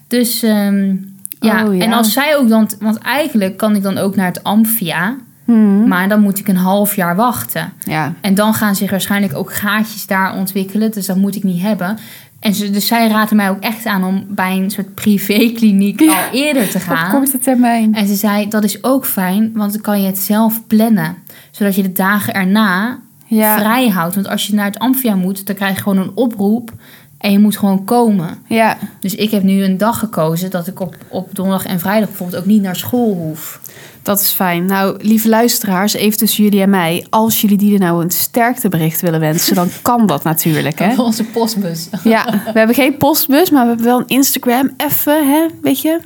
Speaker 3: Dus ehm, ja.
Speaker 1: Oh, ja.
Speaker 3: en als zij ook dan, want eigenlijk kan ik dan ook naar het Amphia,
Speaker 1: Hmm.
Speaker 3: maar dan moet ik een half jaar wachten.
Speaker 1: Ja.
Speaker 3: En dan gaan zich waarschijnlijk ook gaatjes daar ontwikkelen. Dus dat moet ik niet hebben. En ze, dus zij raden mij ook echt aan om bij een soort privékliniek
Speaker 1: Ja,
Speaker 3: al eerder te
Speaker 1: Op
Speaker 3: gaan.
Speaker 1: korte termijn.
Speaker 3: En ze zei, dat is ook fijn, want dan kan je het zelf plannen. Zodat je de dagen erna
Speaker 1: Ja.
Speaker 3: vrij houdt. Want als je naar het Amphia moet, dan krijg je gewoon een oproep. En je moet gewoon komen.
Speaker 1: Ja.
Speaker 3: Dus ik heb nu een dag gekozen dat ik op, op donderdag en vrijdag bijvoorbeeld ook niet naar school hoef.
Speaker 1: Dat is fijn. Nou, lieve luisteraars, even tussen jullie en mij. Als jullie die er nou een sterktebericht willen wensen, dan kan dat natuurlijk. Hè?
Speaker 3: Voor onze postbus.
Speaker 1: Ja, we hebben geen postbus, maar we hebben wel een Instagram. Even, hè, weet je?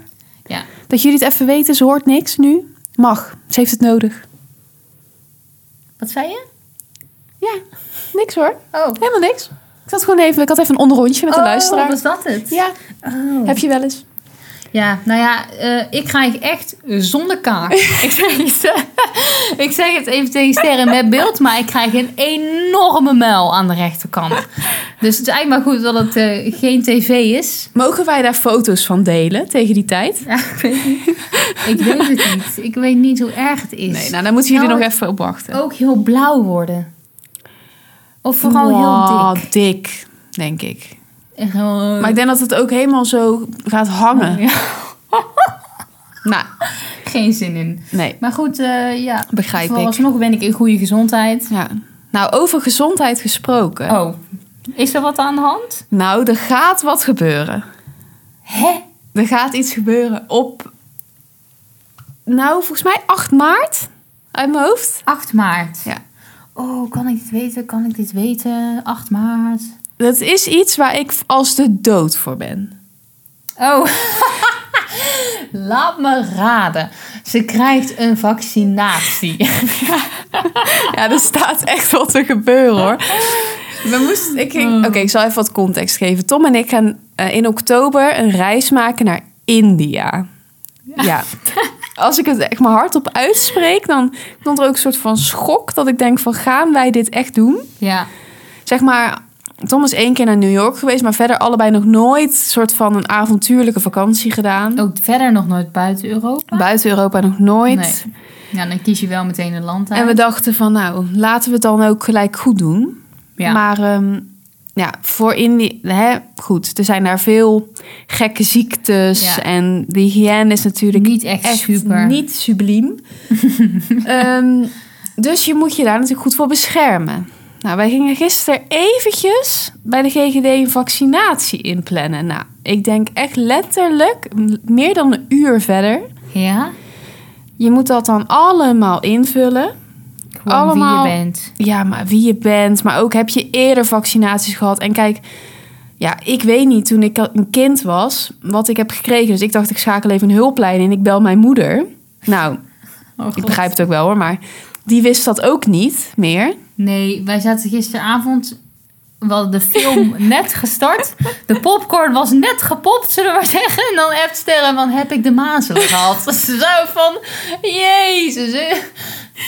Speaker 3: Ja.
Speaker 1: Dat jullie het even weten, ze hoort niks nu. Mag, ze heeft het nodig.
Speaker 3: Wat zei je?
Speaker 1: Ja, niks hoor.
Speaker 3: Oh.
Speaker 1: Helemaal niks. Ik zat gewoon even, ik had even een onderrondje met de luisteraar.
Speaker 3: Oh, was dat het?
Speaker 1: Ja,
Speaker 3: Oh.
Speaker 1: heb je wel eens.
Speaker 3: Ja, nou ja, eh, ik ga je echt zonder kaak. ik, zeg het, ik zeg het even tegen Sterren met beeld, maar ik krijg een enorme muil aan de rechterkant. Dus het is eigenlijk maar goed dat het eh, geen tv is.
Speaker 1: Mogen wij daar foto's van delen tegen die tijd?
Speaker 3: Ja, ik weet niet. Ik weet het niet. Ik weet niet hoe erg het is.
Speaker 1: Nee, nou dan moeten jullie
Speaker 3: Nou,
Speaker 1: nog even op wachten.
Speaker 3: Ook heel blauw worden. Of vooral heel
Speaker 1: Wow,
Speaker 3: dik. Oh.
Speaker 1: dik, denk ik.
Speaker 3: En gewoon-
Speaker 1: Maar ik denk dat het ook helemaal zo gaat hangen.
Speaker 3: Oh, Ja,
Speaker 1: Nou,
Speaker 3: geen zin in.
Speaker 1: nee.
Speaker 3: Maar goed, eh ja.
Speaker 1: Begrijp ik.
Speaker 3: Vooralsnog ben ik in goede gezondheid.
Speaker 1: Ja. Nou, over gezondheid gesproken.
Speaker 3: Oh, is er wat aan de hand?
Speaker 1: Nou, er gaat wat gebeuren.
Speaker 3: Hè?
Speaker 1: Er gaat iets gebeuren op... Nou, volgens mij 8 maart. Uit mijn hoofd.
Speaker 3: 8 maart.
Speaker 1: Ja.
Speaker 3: Oh, kan ik dit weten? Kan ik dit weten? 8 maart.
Speaker 1: Dat is iets waar ik als de dood voor ben.
Speaker 3: Oh. Laat me raden. Ze krijgt een vaccinatie.
Speaker 1: Ja, er staat echt wat te gebeuren, hoor. We moesten... ik ging- Oké, ik zal even wat context geven. Tom en ik gaan eh, in oktober een reis maken naar India. Ja. Als ik het echt maar hardop uitspreek, dan komt er ook een soort van schok dat ik denk van gaan wij dit echt doen?
Speaker 3: Ja.
Speaker 1: Zeg maar, Tom is één keer naar New York geweest, maar verder allebei nog nooit soort van een avontuurlijke vakantie gedaan.
Speaker 3: Ook verder nog nooit buiten Europa.
Speaker 1: Buiten Europa nog nooit.
Speaker 3: Nee. Ja, dan kies je wel meteen een land uit.
Speaker 1: En we dachten van, nou, laten we het dan ook gelijk goed doen.
Speaker 3: Ja.
Speaker 1: Maar ehm, ja, voor Indië, hè, goed, er zijn daar veel gekke ziektes.
Speaker 3: Ja.
Speaker 1: En de hygiëne is natuurlijk
Speaker 3: niet echt, super.
Speaker 1: niet subliem. Ehm, dus je moet je daar natuurlijk goed voor beschermen. Nou, wij gingen gisteren eventjes bij de GGD een vaccinatie inplannen. Nou, ik denk echt letterlijk m- meer dan een uur verder.
Speaker 3: Ja?
Speaker 1: Je moet dat dan allemaal invullen.
Speaker 3: Gewoon
Speaker 1: Allemaal-
Speaker 3: wie je bent.
Speaker 1: Ja, maar wie je bent, maar ook heb je eerder vaccinaties gehad. En kijk, ja, ik weet niet toen ik een kind was wat ik heb gekregen. Dus ik dacht, ik schakel even een hulplijn en ik bel mijn moeder. Nou,
Speaker 3: Oh,
Speaker 1: ik begrijp het ook wel hoor, maar die wist dat ook niet meer.
Speaker 3: Nee, wij zaten gisteravond... We hadden de film net gestart. De popcorn was net gepopt, zullen we maar zeggen. En dan appt Sterren van, heb ik de mazelen gehad? Zo van, jezus. eh,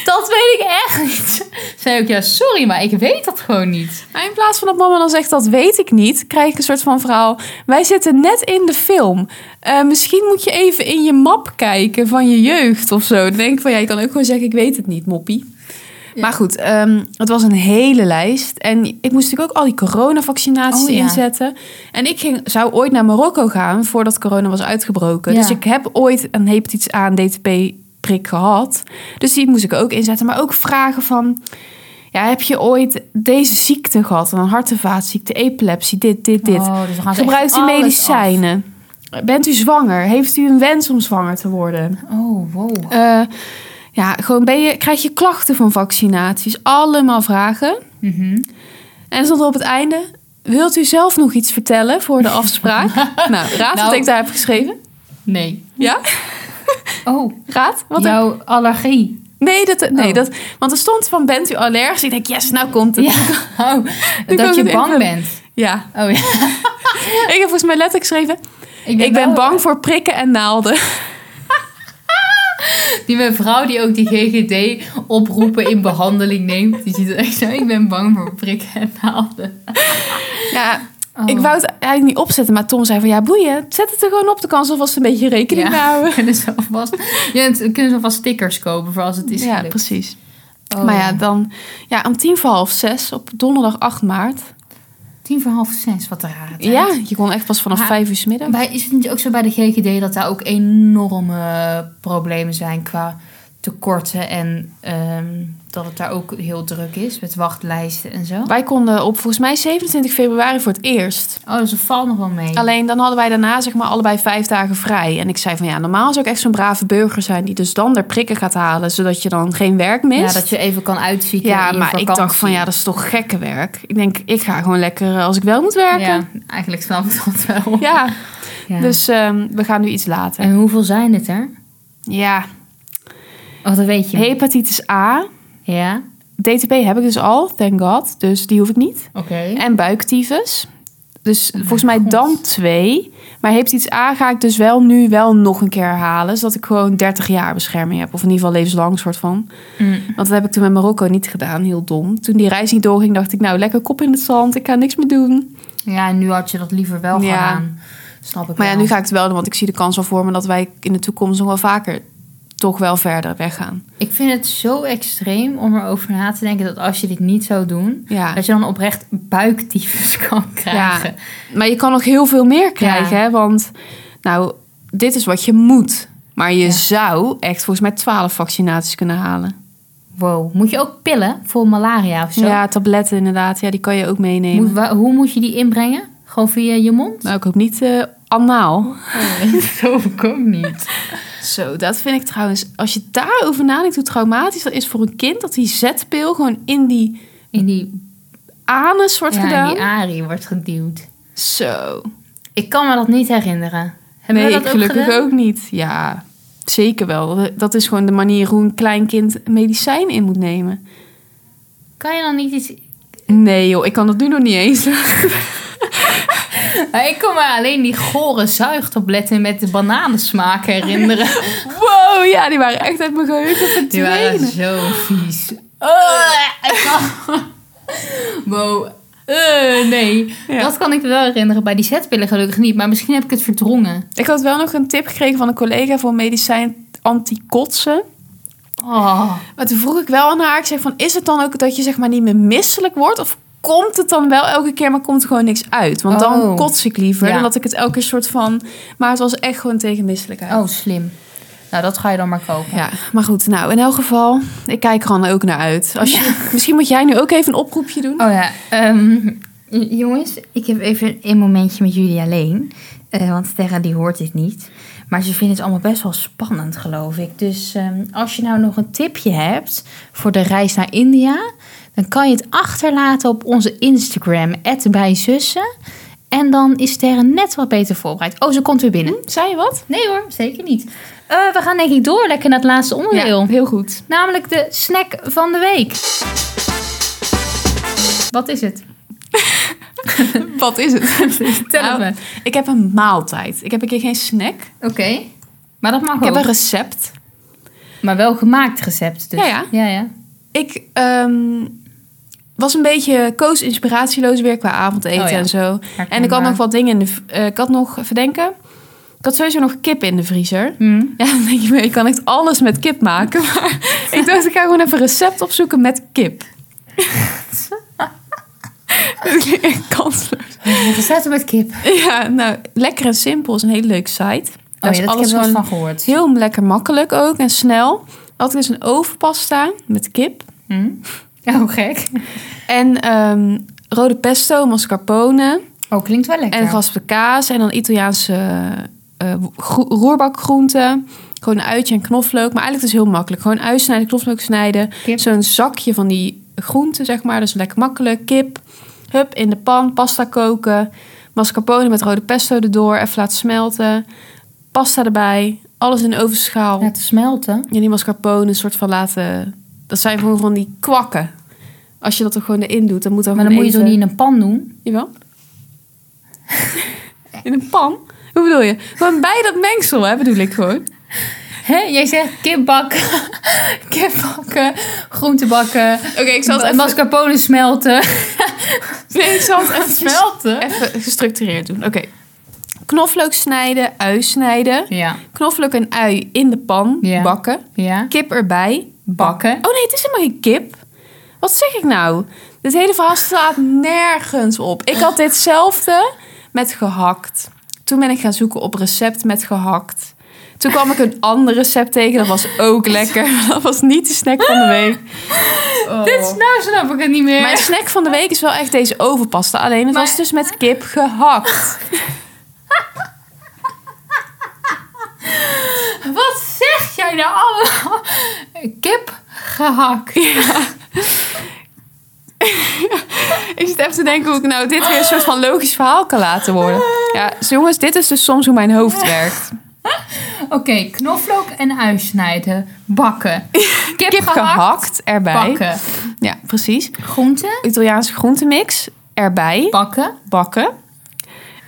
Speaker 3: Dat weet ik echt niet. Zei ook, ja, sorry, maar ik weet dat gewoon niet.
Speaker 1: Maar Nou, in plaats van dat mama dan zegt, dat weet ik niet, krijg ik een soort van verhaal. Wij zitten net in de film. Eh, misschien moet je even in je map kijken van je jeugd of zo. Dan denk ik van, ja, je kan ook gewoon zeggen, ik weet het niet, moppie.
Speaker 3: Ja.
Speaker 1: Maar goed, ehm, het was een hele lijst. En ik moest natuurlijk ook al die coronavaccinaties
Speaker 3: Oh, ja.
Speaker 1: inzetten. En ik ging, zou ooit naar Marokko gaan voordat corona was uitgebroken.
Speaker 3: Ja.
Speaker 1: Dus ik heb ooit een hepatitis A en DTP-prik gehad. Dus die moest ik ook inzetten. Maar ook vragen van... Ja, heb je ooit deze ziekte gehad? Een hart- en vaatziekte, epilepsie, dit, dit, dit.
Speaker 3: Oh, dus we gaan ze
Speaker 1: Gebruikt
Speaker 3: echt
Speaker 1: u
Speaker 3: alles
Speaker 1: medicijnen? Bent u zwanger? Heeft u een wens om zwanger te worden?
Speaker 3: af. Oh, wow.
Speaker 1: Eh, ja, gewoon ben je, krijg je klachten van vaccinaties? Allemaal vragen.
Speaker 3: Mhm.
Speaker 1: En dan stond er op het einde... Wilt u zelf nog iets vertellen voor de afspraak? nou, raad wat
Speaker 3: Nou.
Speaker 1: ik daar heb geschreven.
Speaker 3: Nee.
Speaker 1: Ja,
Speaker 3: Oh,
Speaker 1: raad. Wat heb-
Speaker 3: jouw allergie.
Speaker 1: Nee, dat, nee
Speaker 3: Oh.
Speaker 1: dat, want er stond van bent u allergisch? Ik denk, yes, nou komt het.
Speaker 3: Ja. Oh,
Speaker 1: kan
Speaker 3: dat je
Speaker 1: het
Speaker 3: bang
Speaker 1: even-
Speaker 3: bent.
Speaker 1: ja.
Speaker 3: Oh ja.
Speaker 1: Ik heb volgens mij letterlijk geschreven...
Speaker 3: Ik
Speaker 1: Ik ben
Speaker 3: wel-
Speaker 1: bang voor prikken en naalden.
Speaker 3: Die mevrouw die ook die GGD-oproepen in behandeling neemt. Die ziet er echt zo. Ik ben bang voor prikken en naalden.
Speaker 1: Ja,
Speaker 3: Oh.
Speaker 1: ik wou het eigenlijk niet opzetten, maar Tom zei van ja, boeien. Zet het er gewoon op, de kans alvast een beetje rekening mee
Speaker 3: ja,
Speaker 1: houden.
Speaker 3: kunnen ze alvast, ja, het- kunnen ze alvast stickers kopen voor als het is
Speaker 1: ja,
Speaker 3: gelukt.
Speaker 1: precies.
Speaker 3: Oh,
Speaker 1: maar ja, dan ja, om tien voor half zes op donderdag 8 maart.
Speaker 3: Tien voor half zes, wat een rare tijd.
Speaker 1: Ja, je kon echt pas vanaf
Speaker 3: Maar-
Speaker 1: vijf uur 's middag.
Speaker 3: Bij, is het niet ook zo bij de GGD dat daar ook enorme problemen zijn qua tekorten en ehm, dat het daar ook heel druk is met wachtlijsten en zo?
Speaker 1: Wij konden op volgens mij 27 februari voor het eerst.
Speaker 3: Oh, dus dat valt nog wel mee.
Speaker 1: Alleen dan hadden wij daarna zeg maar allebei vijf dagen vrij. En ik zei van ja, normaal zou ik echt zo'n brave burger zijn die dus dan er prikken gaat halen, zodat je dan geen werk mist.
Speaker 3: ja, dat je even kan uitzieken.
Speaker 1: Ja,
Speaker 3: in je
Speaker 1: maar ik dacht
Speaker 3: vakantie.
Speaker 1: van ja, dat is toch gekke werk. Ik denk, ik ga gewoon lekker eh, als ik wel moet werken.
Speaker 3: Ja, eigenlijk snap ik dat wel.
Speaker 1: Ja, dus ehm, we gaan nu iets later.
Speaker 3: En hoeveel zijn het er?
Speaker 1: Ja,
Speaker 3: Oh, dat weet je.
Speaker 1: hepatitis A.
Speaker 3: Ja.
Speaker 1: DTP heb ik dus al, thank god. Dus die hoef ik niet.
Speaker 3: Oké.
Speaker 1: En buiktyfus. Dus volgens mij
Speaker 3: God.
Speaker 1: dan twee. Maar hepatitis A ga ik dus wel nu wel nog een keer herhalen. Zodat ik gewoon 30 jaar bescherming heb. Of in ieder geval levenslang soort van.
Speaker 3: Mm.
Speaker 1: Want dat heb ik toen met Marokko niet gedaan. Heel dom. Toen die reis niet doorging dacht ik nou lekker kop in het zand. Ik ga niks meer doen.
Speaker 3: Ja, en nu had je dat liever wel
Speaker 1: Ja.
Speaker 3: gedaan. Snap ik
Speaker 1: Maar ja,
Speaker 3: wel.
Speaker 1: nu ga ik het wel doen, want ik zie de kans al voor me dat wij in de toekomst nog wel vaker toch wel verder weggaan.
Speaker 3: Ik vind het zo extreem om erover na te denken dat als je dit niet zou doen,
Speaker 1: Ja.
Speaker 3: dat je dan oprecht buiktyfus kan krijgen.
Speaker 1: Maar je kan nog heel veel meer krijgen, hè? Want nou, dit is wat je moet. Maar je
Speaker 3: Ja.
Speaker 1: zou echt volgens mij 12 vaccinaties kunnen halen.
Speaker 3: Wow. Moet je ook pillen voor malaria of zo?
Speaker 1: Ja, tabletten inderdaad. Ja, die kan je ook meenemen.
Speaker 3: Moet, wa- hoe moet je die inbrengen? Gewoon via je mond?
Speaker 1: Nou, ik hoop niet eh anaal.
Speaker 3: zo ik ook niet.
Speaker 1: Zo, dat vind ik trouwens... Als je daarover nadenkt hoe traumatisch dat is voor een kind... dat die zetpil gewoon in die
Speaker 3: In die,
Speaker 1: anus wordt
Speaker 3: ja, in
Speaker 1: gedaan.
Speaker 3: die arie wordt geduwd.
Speaker 1: Zo.
Speaker 3: Ik kan me dat niet herinneren. Hebben
Speaker 1: nee,
Speaker 3: we dat
Speaker 1: ik gelukkig
Speaker 3: gedaan?
Speaker 1: ook niet. Ja, zeker wel. Dat is gewoon de manier hoe een klein kind medicijn in moet nemen.
Speaker 3: Kan je dan niet iets...
Speaker 1: Nee joh, ik kan dat nu nog niet eens.
Speaker 3: Maar ik kan me alleen die gore zuigtabletten met de bananensmaak herinneren.
Speaker 1: Wow, ja, die waren echt uit mijn geheugen
Speaker 3: Die
Speaker 1: verdwenen.
Speaker 3: waren zo vies.
Speaker 1: Oh,
Speaker 3: Eh, wow. Eh, nee,
Speaker 1: Ja.
Speaker 3: dat kan ik wel herinneren. Bij die zetpillen gelukkig niet. Maar misschien heb ik het verdrongen.
Speaker 1: Ik had wel nog een tip gekregen van een collega voor medicijn antikotsen.
Speaker 3: Oh.
Speaker 1: Maar toen vroeg ik wel aan haar, ik zeg van, is het dan ook dat je zeg maar niet meer misselijk wordt? Of komt het dan wel elke keer, maar komt er gewoon niks uit? Want dan
Speaker 3: Oh.
Speaker 1: kots ik liever,
Speaker 3: Ja.
Speaker 1: dan dat ik het elke keer soort van... Maar het was echt gewoon tegen misselijkheid.
Speaker 3: oh, slim. Nou, dat ga je dan maar kopen.
Speaker 1: Ja, maar goed, nou, in elk geval, ik kijk er dan ook naar uit. Als je, Misschien moet jij nu ook even een oproepje doen.
Speaker 3: Oh ja, ehm, j- jongens, ik heb even een momentje met jullie alleen. Eh, want Terra die hoort dit niet. Maar ze vindt het allemaal best wel spannend, geloof ik. Dus ehm, als je nou nog een tipje hebt voor de reis naar India... dan kan je het achterlaten op onze Instagram, @bijzussen. En dan is Terra net wat beter voorbereid. Oh, ze komt weer binnen.
Speaker 1: Zei je wat?
Speaker 3: Nee hoor, zeker niet. Eh, we gaan denk ik door lekker naar het laatste onderdeel.
Speaker 1: heel goed.
Speaker 3: Namelijk de snack van de week. Wat is het?
Speaker 1: Wat is het?
Speaker 3: Tel
Speaker 1: Nou,
Speaker 3: me.
Speaker 1: Ik heb een maaltijd. Ik heb een keer geen snack.
Speaker 3: Oké. Maar dat mag
Speaker 1: Ik heb
Speaker 3: ook.
Speaker 1: een recept.
Speaker 3: Maar wel gemaakt recept dus.
Speaker 1: Ja, ja.
Speaker 3: ja,
Speaker 1: Ik ehm, was een beetje koos inspiratieloos weer qua avondeten
Speaker 3: Oh ja.
Speaker 1: en zo. En ik had nog wat dingen in de... v- eh, ik had nog, verdenken... Ik had sowieso nog kip in de vriezer.
Speaker 3: Hmm.
Speaker 1: Ja, dan denk je, maar je kan echt alles met kip maken. Maar ik dacht, ik ga gewoon even een recept opzoeken met kip. Dat klinkt echt kansloos.
Speaker 3: Recept met kip.
Speaker 1: Ja, nou, lekker en simpel is een hele leuke site. Daar is
Speaker 3: Oh ja, dat heb ik
Speaker 1: alles
Speaker 3: wel eens
Speaker 1: gewoon
Speaker 3: van gehoord.
Speaker 1: heel lekker makkelijk ook en snel. Had ik dus een overpasta met kip.
Speaker 3: Hmm. Oh, gek.
Speaker 1: En ehm, rode pesto, mascarpone
Speaker 3: Oh, klinkt wel lekker.
Speaker 1: en geraspte kaas. En dan Italiaanse eh, gro- roerbakgroenten. Gewoon een uitje en knoflook. Maar eigenlijk is het heel makkelijk. Gewoon ui snijden, knoflook snijden.
Speaker 3: Kip.
Speaker 1: Zo'n zakje van die groenten, zeg maar. Dus lekker makkelijk. Kip, hup, in de pan. Pasta koken. Mascarpone met rode pesto erdoor. Even laten smelten. Pasta erbij. Alles in de ovenschaal.
Speaker 3: Laten smelten.
Speaker 1: Ja, die mascarpone een soort van laten... Dat zijn gewoon van die kwakken. Als je dat er gewoon erin doet, dan moet dat
Speaker 3: Maar dan
Speaker 1: gewoon
Speaker 3: moet je zo
Speaker 1: even-
Speaker 3: niet in een pan doen.
Speaker 1: Jawel. In een pan? Hoe bedoel je? Gewoon bij dat mengsel, hè, bedoel ik gewoon.
Speaker 3: Hé, jij zegt kip bakken, kip bakken, groente bakken,
Speaker 1: Oké, ik
Speaker 3: ma- mascarpone smelten.
Speaker 1: Nee, ik zal het even
Speaker 3: Smelten?
Speaker 1: Even gestructureerd doen. Oké. Knoflook snijden, ui snijden.
Speaker 3: Ja.
Speaker 1: Knoflook en ui in de pan
Speaker 3: Ja.
Speaker 1: bakken.
Speaker 3: Ja.
Speaker 1: Kip erbij.
Speaker 3: Bakken.
Speaker 1: Oh nee, het is helemaal geen kip. Wat zeg ik nou? Dit hele verhaal staat nergens op. Ik had ditzelfde met gehakt. Toen ben ik gaan zoeken op recept met gehakt. Toen kwam ik een ander recept tegen. Dat was ook lekker. maar Dat was niet de snack van de week. Oh.
Speaker 3: Dit, is- nou snap ik het niet meer.
Speaker 1: Mijn snack van de week is wel echt deze overpasta. Alleen het
Speaker 3: Maar-
Speaker 1: was dus met kip gehakt.
Speaker 3: Wat zeg jij nou allemaal? Kip gehakt.
Speaker 1: Ik zit even te denken hoe ik nou dit weer een soort van logisch verhaal kan laten worden. Ja, jongens, dit is dus soms hoe mijn hoofd werkt.
Speaker 3: Oké, knoflook en ui snijden. Bakken. Kip,
Speaker 1: Kip gehakt erbij.
Speaker 3: Bakken.
Speaker 1: Ja, precies.
Speaker 3: Groenten.
Speaker 1: Italiaanse groentemix erbij
Speaker 3: Bakken.
Speaker 1: bakken.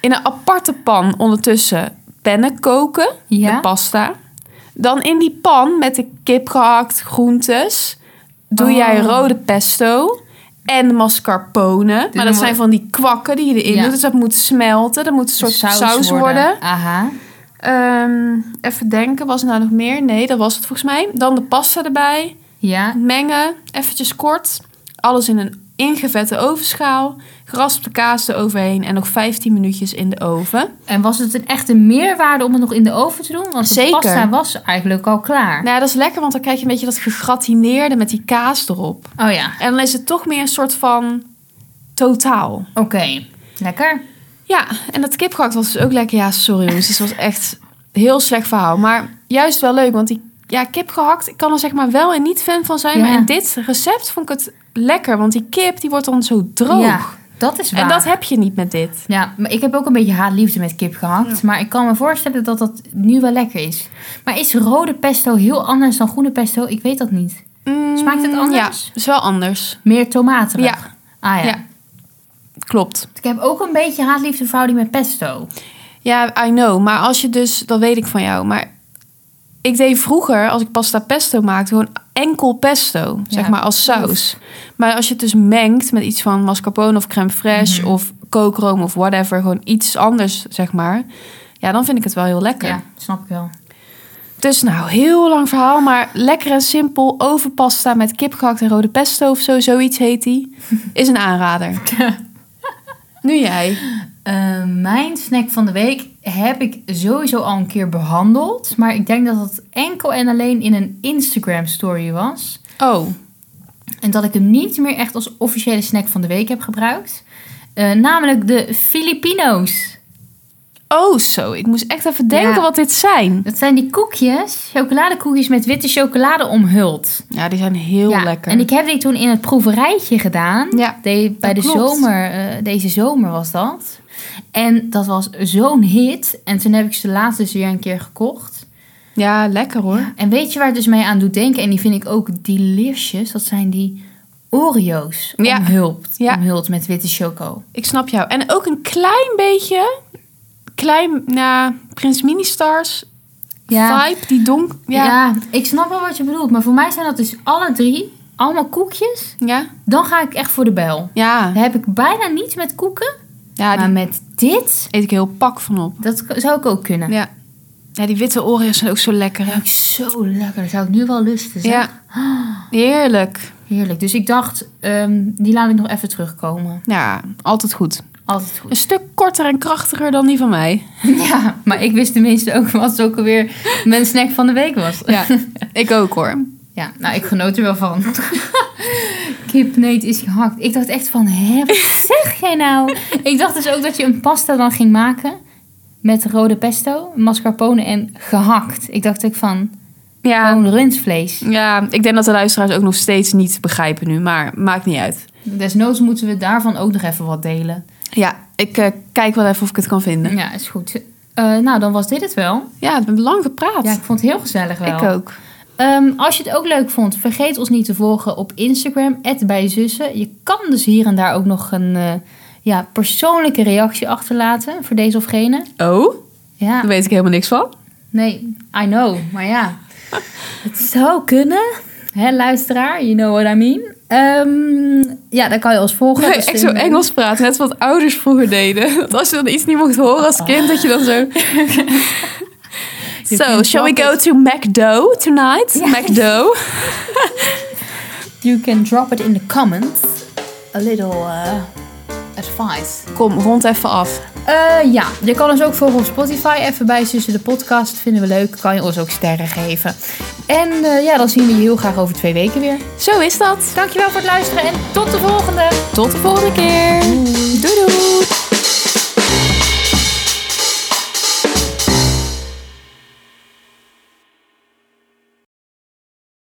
Speaker 1: In een aparte pan ondertussen pennen koken,
Speaker 3: Ja.
Speaker 1: de pasta. Dan in die pan met de kip gehakt, groentes, doe
Speaker 3: Oh.
Speaker 1: jij rode pesto en mascarpone. maar
Speaker 3: dan
Speaker 1: dat zijn
Speaker 3: wordt-
Speaker 1: van die kwakken die je erin
Speaker 3: Ja.
Speaker 1: doet. Dus dat moet smelten, dat moet een soort saus, worden.
Speaker 3: Aha.
Speaker 1: Ehm, even denken, was er nou nog meer? Nee, dat was het volgens mij. Dan de pasta erbij.
Speaker 3: Ja.
Speaker 1: Mengen, eventjes kort. Alles in een ingevette ovenschaal. Geraspte kaas eroverheen en nog 15 minuutjes in de oven.
Speaker 3: En was het een echte meerwaarde om het nog in de oven te doen? Want de
Speaker 1: Zeker.
Speaker 3: pasta was eigenlijk al klaar.
Speaker 1: Nou ja, dat is lekker, want dan krijg je een beetje dat gegratineerde met die kaas erop.
Speaker 3: Oh ja.
Speaker 1: En dan is het toch meer een soort van totaal.
Speaker 3: Oké. Lekker.
Speaker 1: Ja, en dat kipgehakt was dus ook lekker. Ja, sorry jongens, dit was echt een heel slecht verhaal. Maar juist wel leuk, want die ja, kipgehakt, ik kan er zeg maar wel en niet fan van zijn.
Speaker 3: Ja.
Speaker 1: Maar in dit recept vond ik het lekker, want die kip die wordt dan zo droog.
Speaker 3: Ja, dat is waar.
Speaker 1: en dat heb je niet met dit.
Speaker 3: Ja, maar ik heb ook een beetje haatliefde met kip gehakt. Maar ik kan me voorstellen dat dat nu wel lekker is. Maar is rode pesto heel anders dan groene pesto? Ik weet dat niet.
Speaker 1: Mm,
Speaker 3: Smaakt het anders?
Speaker 1: Ja, is wel anders.
Speaker 3: Meer tomaten.
Speaker 1: Ja.
Speaker 3: Ah ja.
Speaker 1: Ja. Klopt.
Speaker 3: Ik heb ook een beetje haatliefde verhouding met pesto.
Speaker 1: Ja, I know. Maar als je dus, dat weet ik van jou. Maar ik deed vroeger, als ik pasta pesto maakte, gewoon enkel pesto. zeg maar als
Speaker 3: oef.
Speaker 1: saus. Maar als je het dus mengt met iets van mascarpone of crème fraîche
Speaker 3: Mhm.
Speaker 1: of kookroom of whatever. Gewoon iets anders, zeg maar. Ja, dan vind ik het wel heel lekker.
Speaker 3: Ja, snap ik wel.
Speaker 1: Dus nou, heel lang verhaal, maar lekker en simpel. Overpasta met kip gehakt en rode pesto of zo, zoiets heet die. Is een aanrader. nu jij.
Speaker 3: Eh, mijn snack van de week heb ik sowieso al een keer behandeld. Maar ik denk dat dat enkel en alleen in een Instagram story was.
Speaker 1: Oh,
Speaker 3: En dat ik hem niet meer echt als officiële snack van de week heb gebruikt. Eh, namelijk de Filipino's.
Speaker 1: oh zo. Ik moest echt even denken
Speaker 3: Ja.
Speaker 1: wat dit zijn.
Speaker 3: Dat zijn die koekjes, chocoladekoekjes met witte chocolade omhuld.
Speaker 1: Ja, die zijn heel
Speaker 3: ja,
Speaker 1: lekker.
Speaker 3: En ik heb die toen in het proeverijtje gedaan.
Speaker 1: Ja,
Speaker 3: De- bij de
Speaker 1: klopt.
Speaker 3: zomer, eh, deze zomer was dat. En dat was zo'n hit. En toen heb ik ze laatst dus weer een keer gekocht.
Speaker 1: Ja, lekker hoor.
Speaker 3: En weet je waar het dus mee aan doet denken? En die vind ik ook delicious. Dat zijn die Oreo's
Speaker 1: Ja.
Speaker 3: omhuld,
Speaker 1: Ja.
Speaker 3: omhuld met witte choco.
Speaker 1: Ik snap jou. En ook een klein beetje, klein, na Prins Ministars
Speaker 3: Ja.
Speaker 1: vibe, die donk...
Speaker 3: Ja.
Speaker 1: Ja.
Speaker 3: ik snap wel wat je bedoelt. Maar voor mij zijn dat dus alle drie allemaal koekjes.
Speaker 1: Ja.
Speaker 3: Dan ga ik echt voor de bel.
Speaker 1: Ja.
Speaker 3: Dan heb ik bijna niets met koeken.
Speaker 1: Ja,
Speaker 3: maar
Speaker 1: die
Speaker 3: met dit,
Speaker 1: eet ik heel pak van op.
Speaker 3: dat k- zou ik ook kunnen.
Speaker 1: Ja. Ja, die witte oren zijn ook zo lekker. hè?
Speaker 3: Ruikt zo lekker. Dat zou ik nu wel lusten. zeg.
Speaker 1: Ja. Heerlijk.
Speaker 3: Ah, Heerlijk. Dus ik dacht, ehm, die laat ik nog even terugkomen.
Speaker 1: Ja, altijd goed.
Speaker 3: Altijd
Speaker 1: Een
Speaker 3: goed.
Speaker 1: stuk korter en krachtiger dan die van mij.
Speaker 3: Ja, maar ik wist tenminste ook wat ook alweer mijn snack van de week was.
Speaker 1: Ja, ik ook hoor.
Speaker 3: Ja, nou, ik genoot er wel van. Kipneet is gehakt. Ik dacht echt van, hè, wat zeg jij nou? Ik dacht dus ook dat je een pasta dan ging maken met rode pesto, mascarpone en gehakt. Ik dacht ook van,
Speaker 1: Ja,
Speaker 3: gewoon rundvlees.
Speaker 1: ja, ik denk dat de luisteraars ook nog steeds niet begrijpen nu, maar maakt niet uit.
Speaker 3: Desnoods moeten we daarvan ook nog even wat delen.
Speaker 1: Ja, ik eh, kijk wel even of ik het kan vinden.
Speaker 3: Ja, is goed. Eh, nou, dan was dit het wel.
Speaker 1: Ja, we hebben lang gepraat.
Speaker 3: Ja, ik vond het heel gezellig wel.
Speaker 1: ik ook.
Speaker 3: Ehm, als je het ook leuk vond, vergeet ons niet te volgen op Instagram, bijzussen. Je kan dus hier en daar ook nog een eh, ja, persoonlijke reactie achterlaten voor deze of gene.
Speaker 1: Oh,
Speaker 3: Ja,
Speaker 1: daar weet ik helemaal niks van.
Speaker 3: nee, I know, maar ja. het zou kunnen. Hè, luisteraar, you know what I mean. Ehm, ja, dan kan je ons volgen.
Speaker 1: Nee,
Speaker 3: Dus
Speaker 1: echt zo
Speaker 3: in-
Speaker 1: Engels praten, net wat ouders vroeger deden. Want als je dan iets niet mocht horen als kind, dat je dan zo... so,
Speaker 3: vindt
Speaker 1: shall we
Speaker 3: wel
Speaker 1: go to McDo tonight?
Speaker 3: Ja.
Speaker 1: McDo?
Speaker 3: You can drop it in the comments. A little eh, advice.
Speaker 1: Kom, rond even af.
Speaker 3: Eh, ja, je kan ons ook volgen op Spotify. Even bij tussen de podcast. Vinden we leuk. Kan je ons ook sterren geven. En eh, ja, dan zien we je heel graag over twee weken weer.
Speaker 1: Zo is dat.
Speaker 3: Dankjewel voor het luisteren en tot de volgende!
Speaker 1: Tot de volgende keer. Doei doei.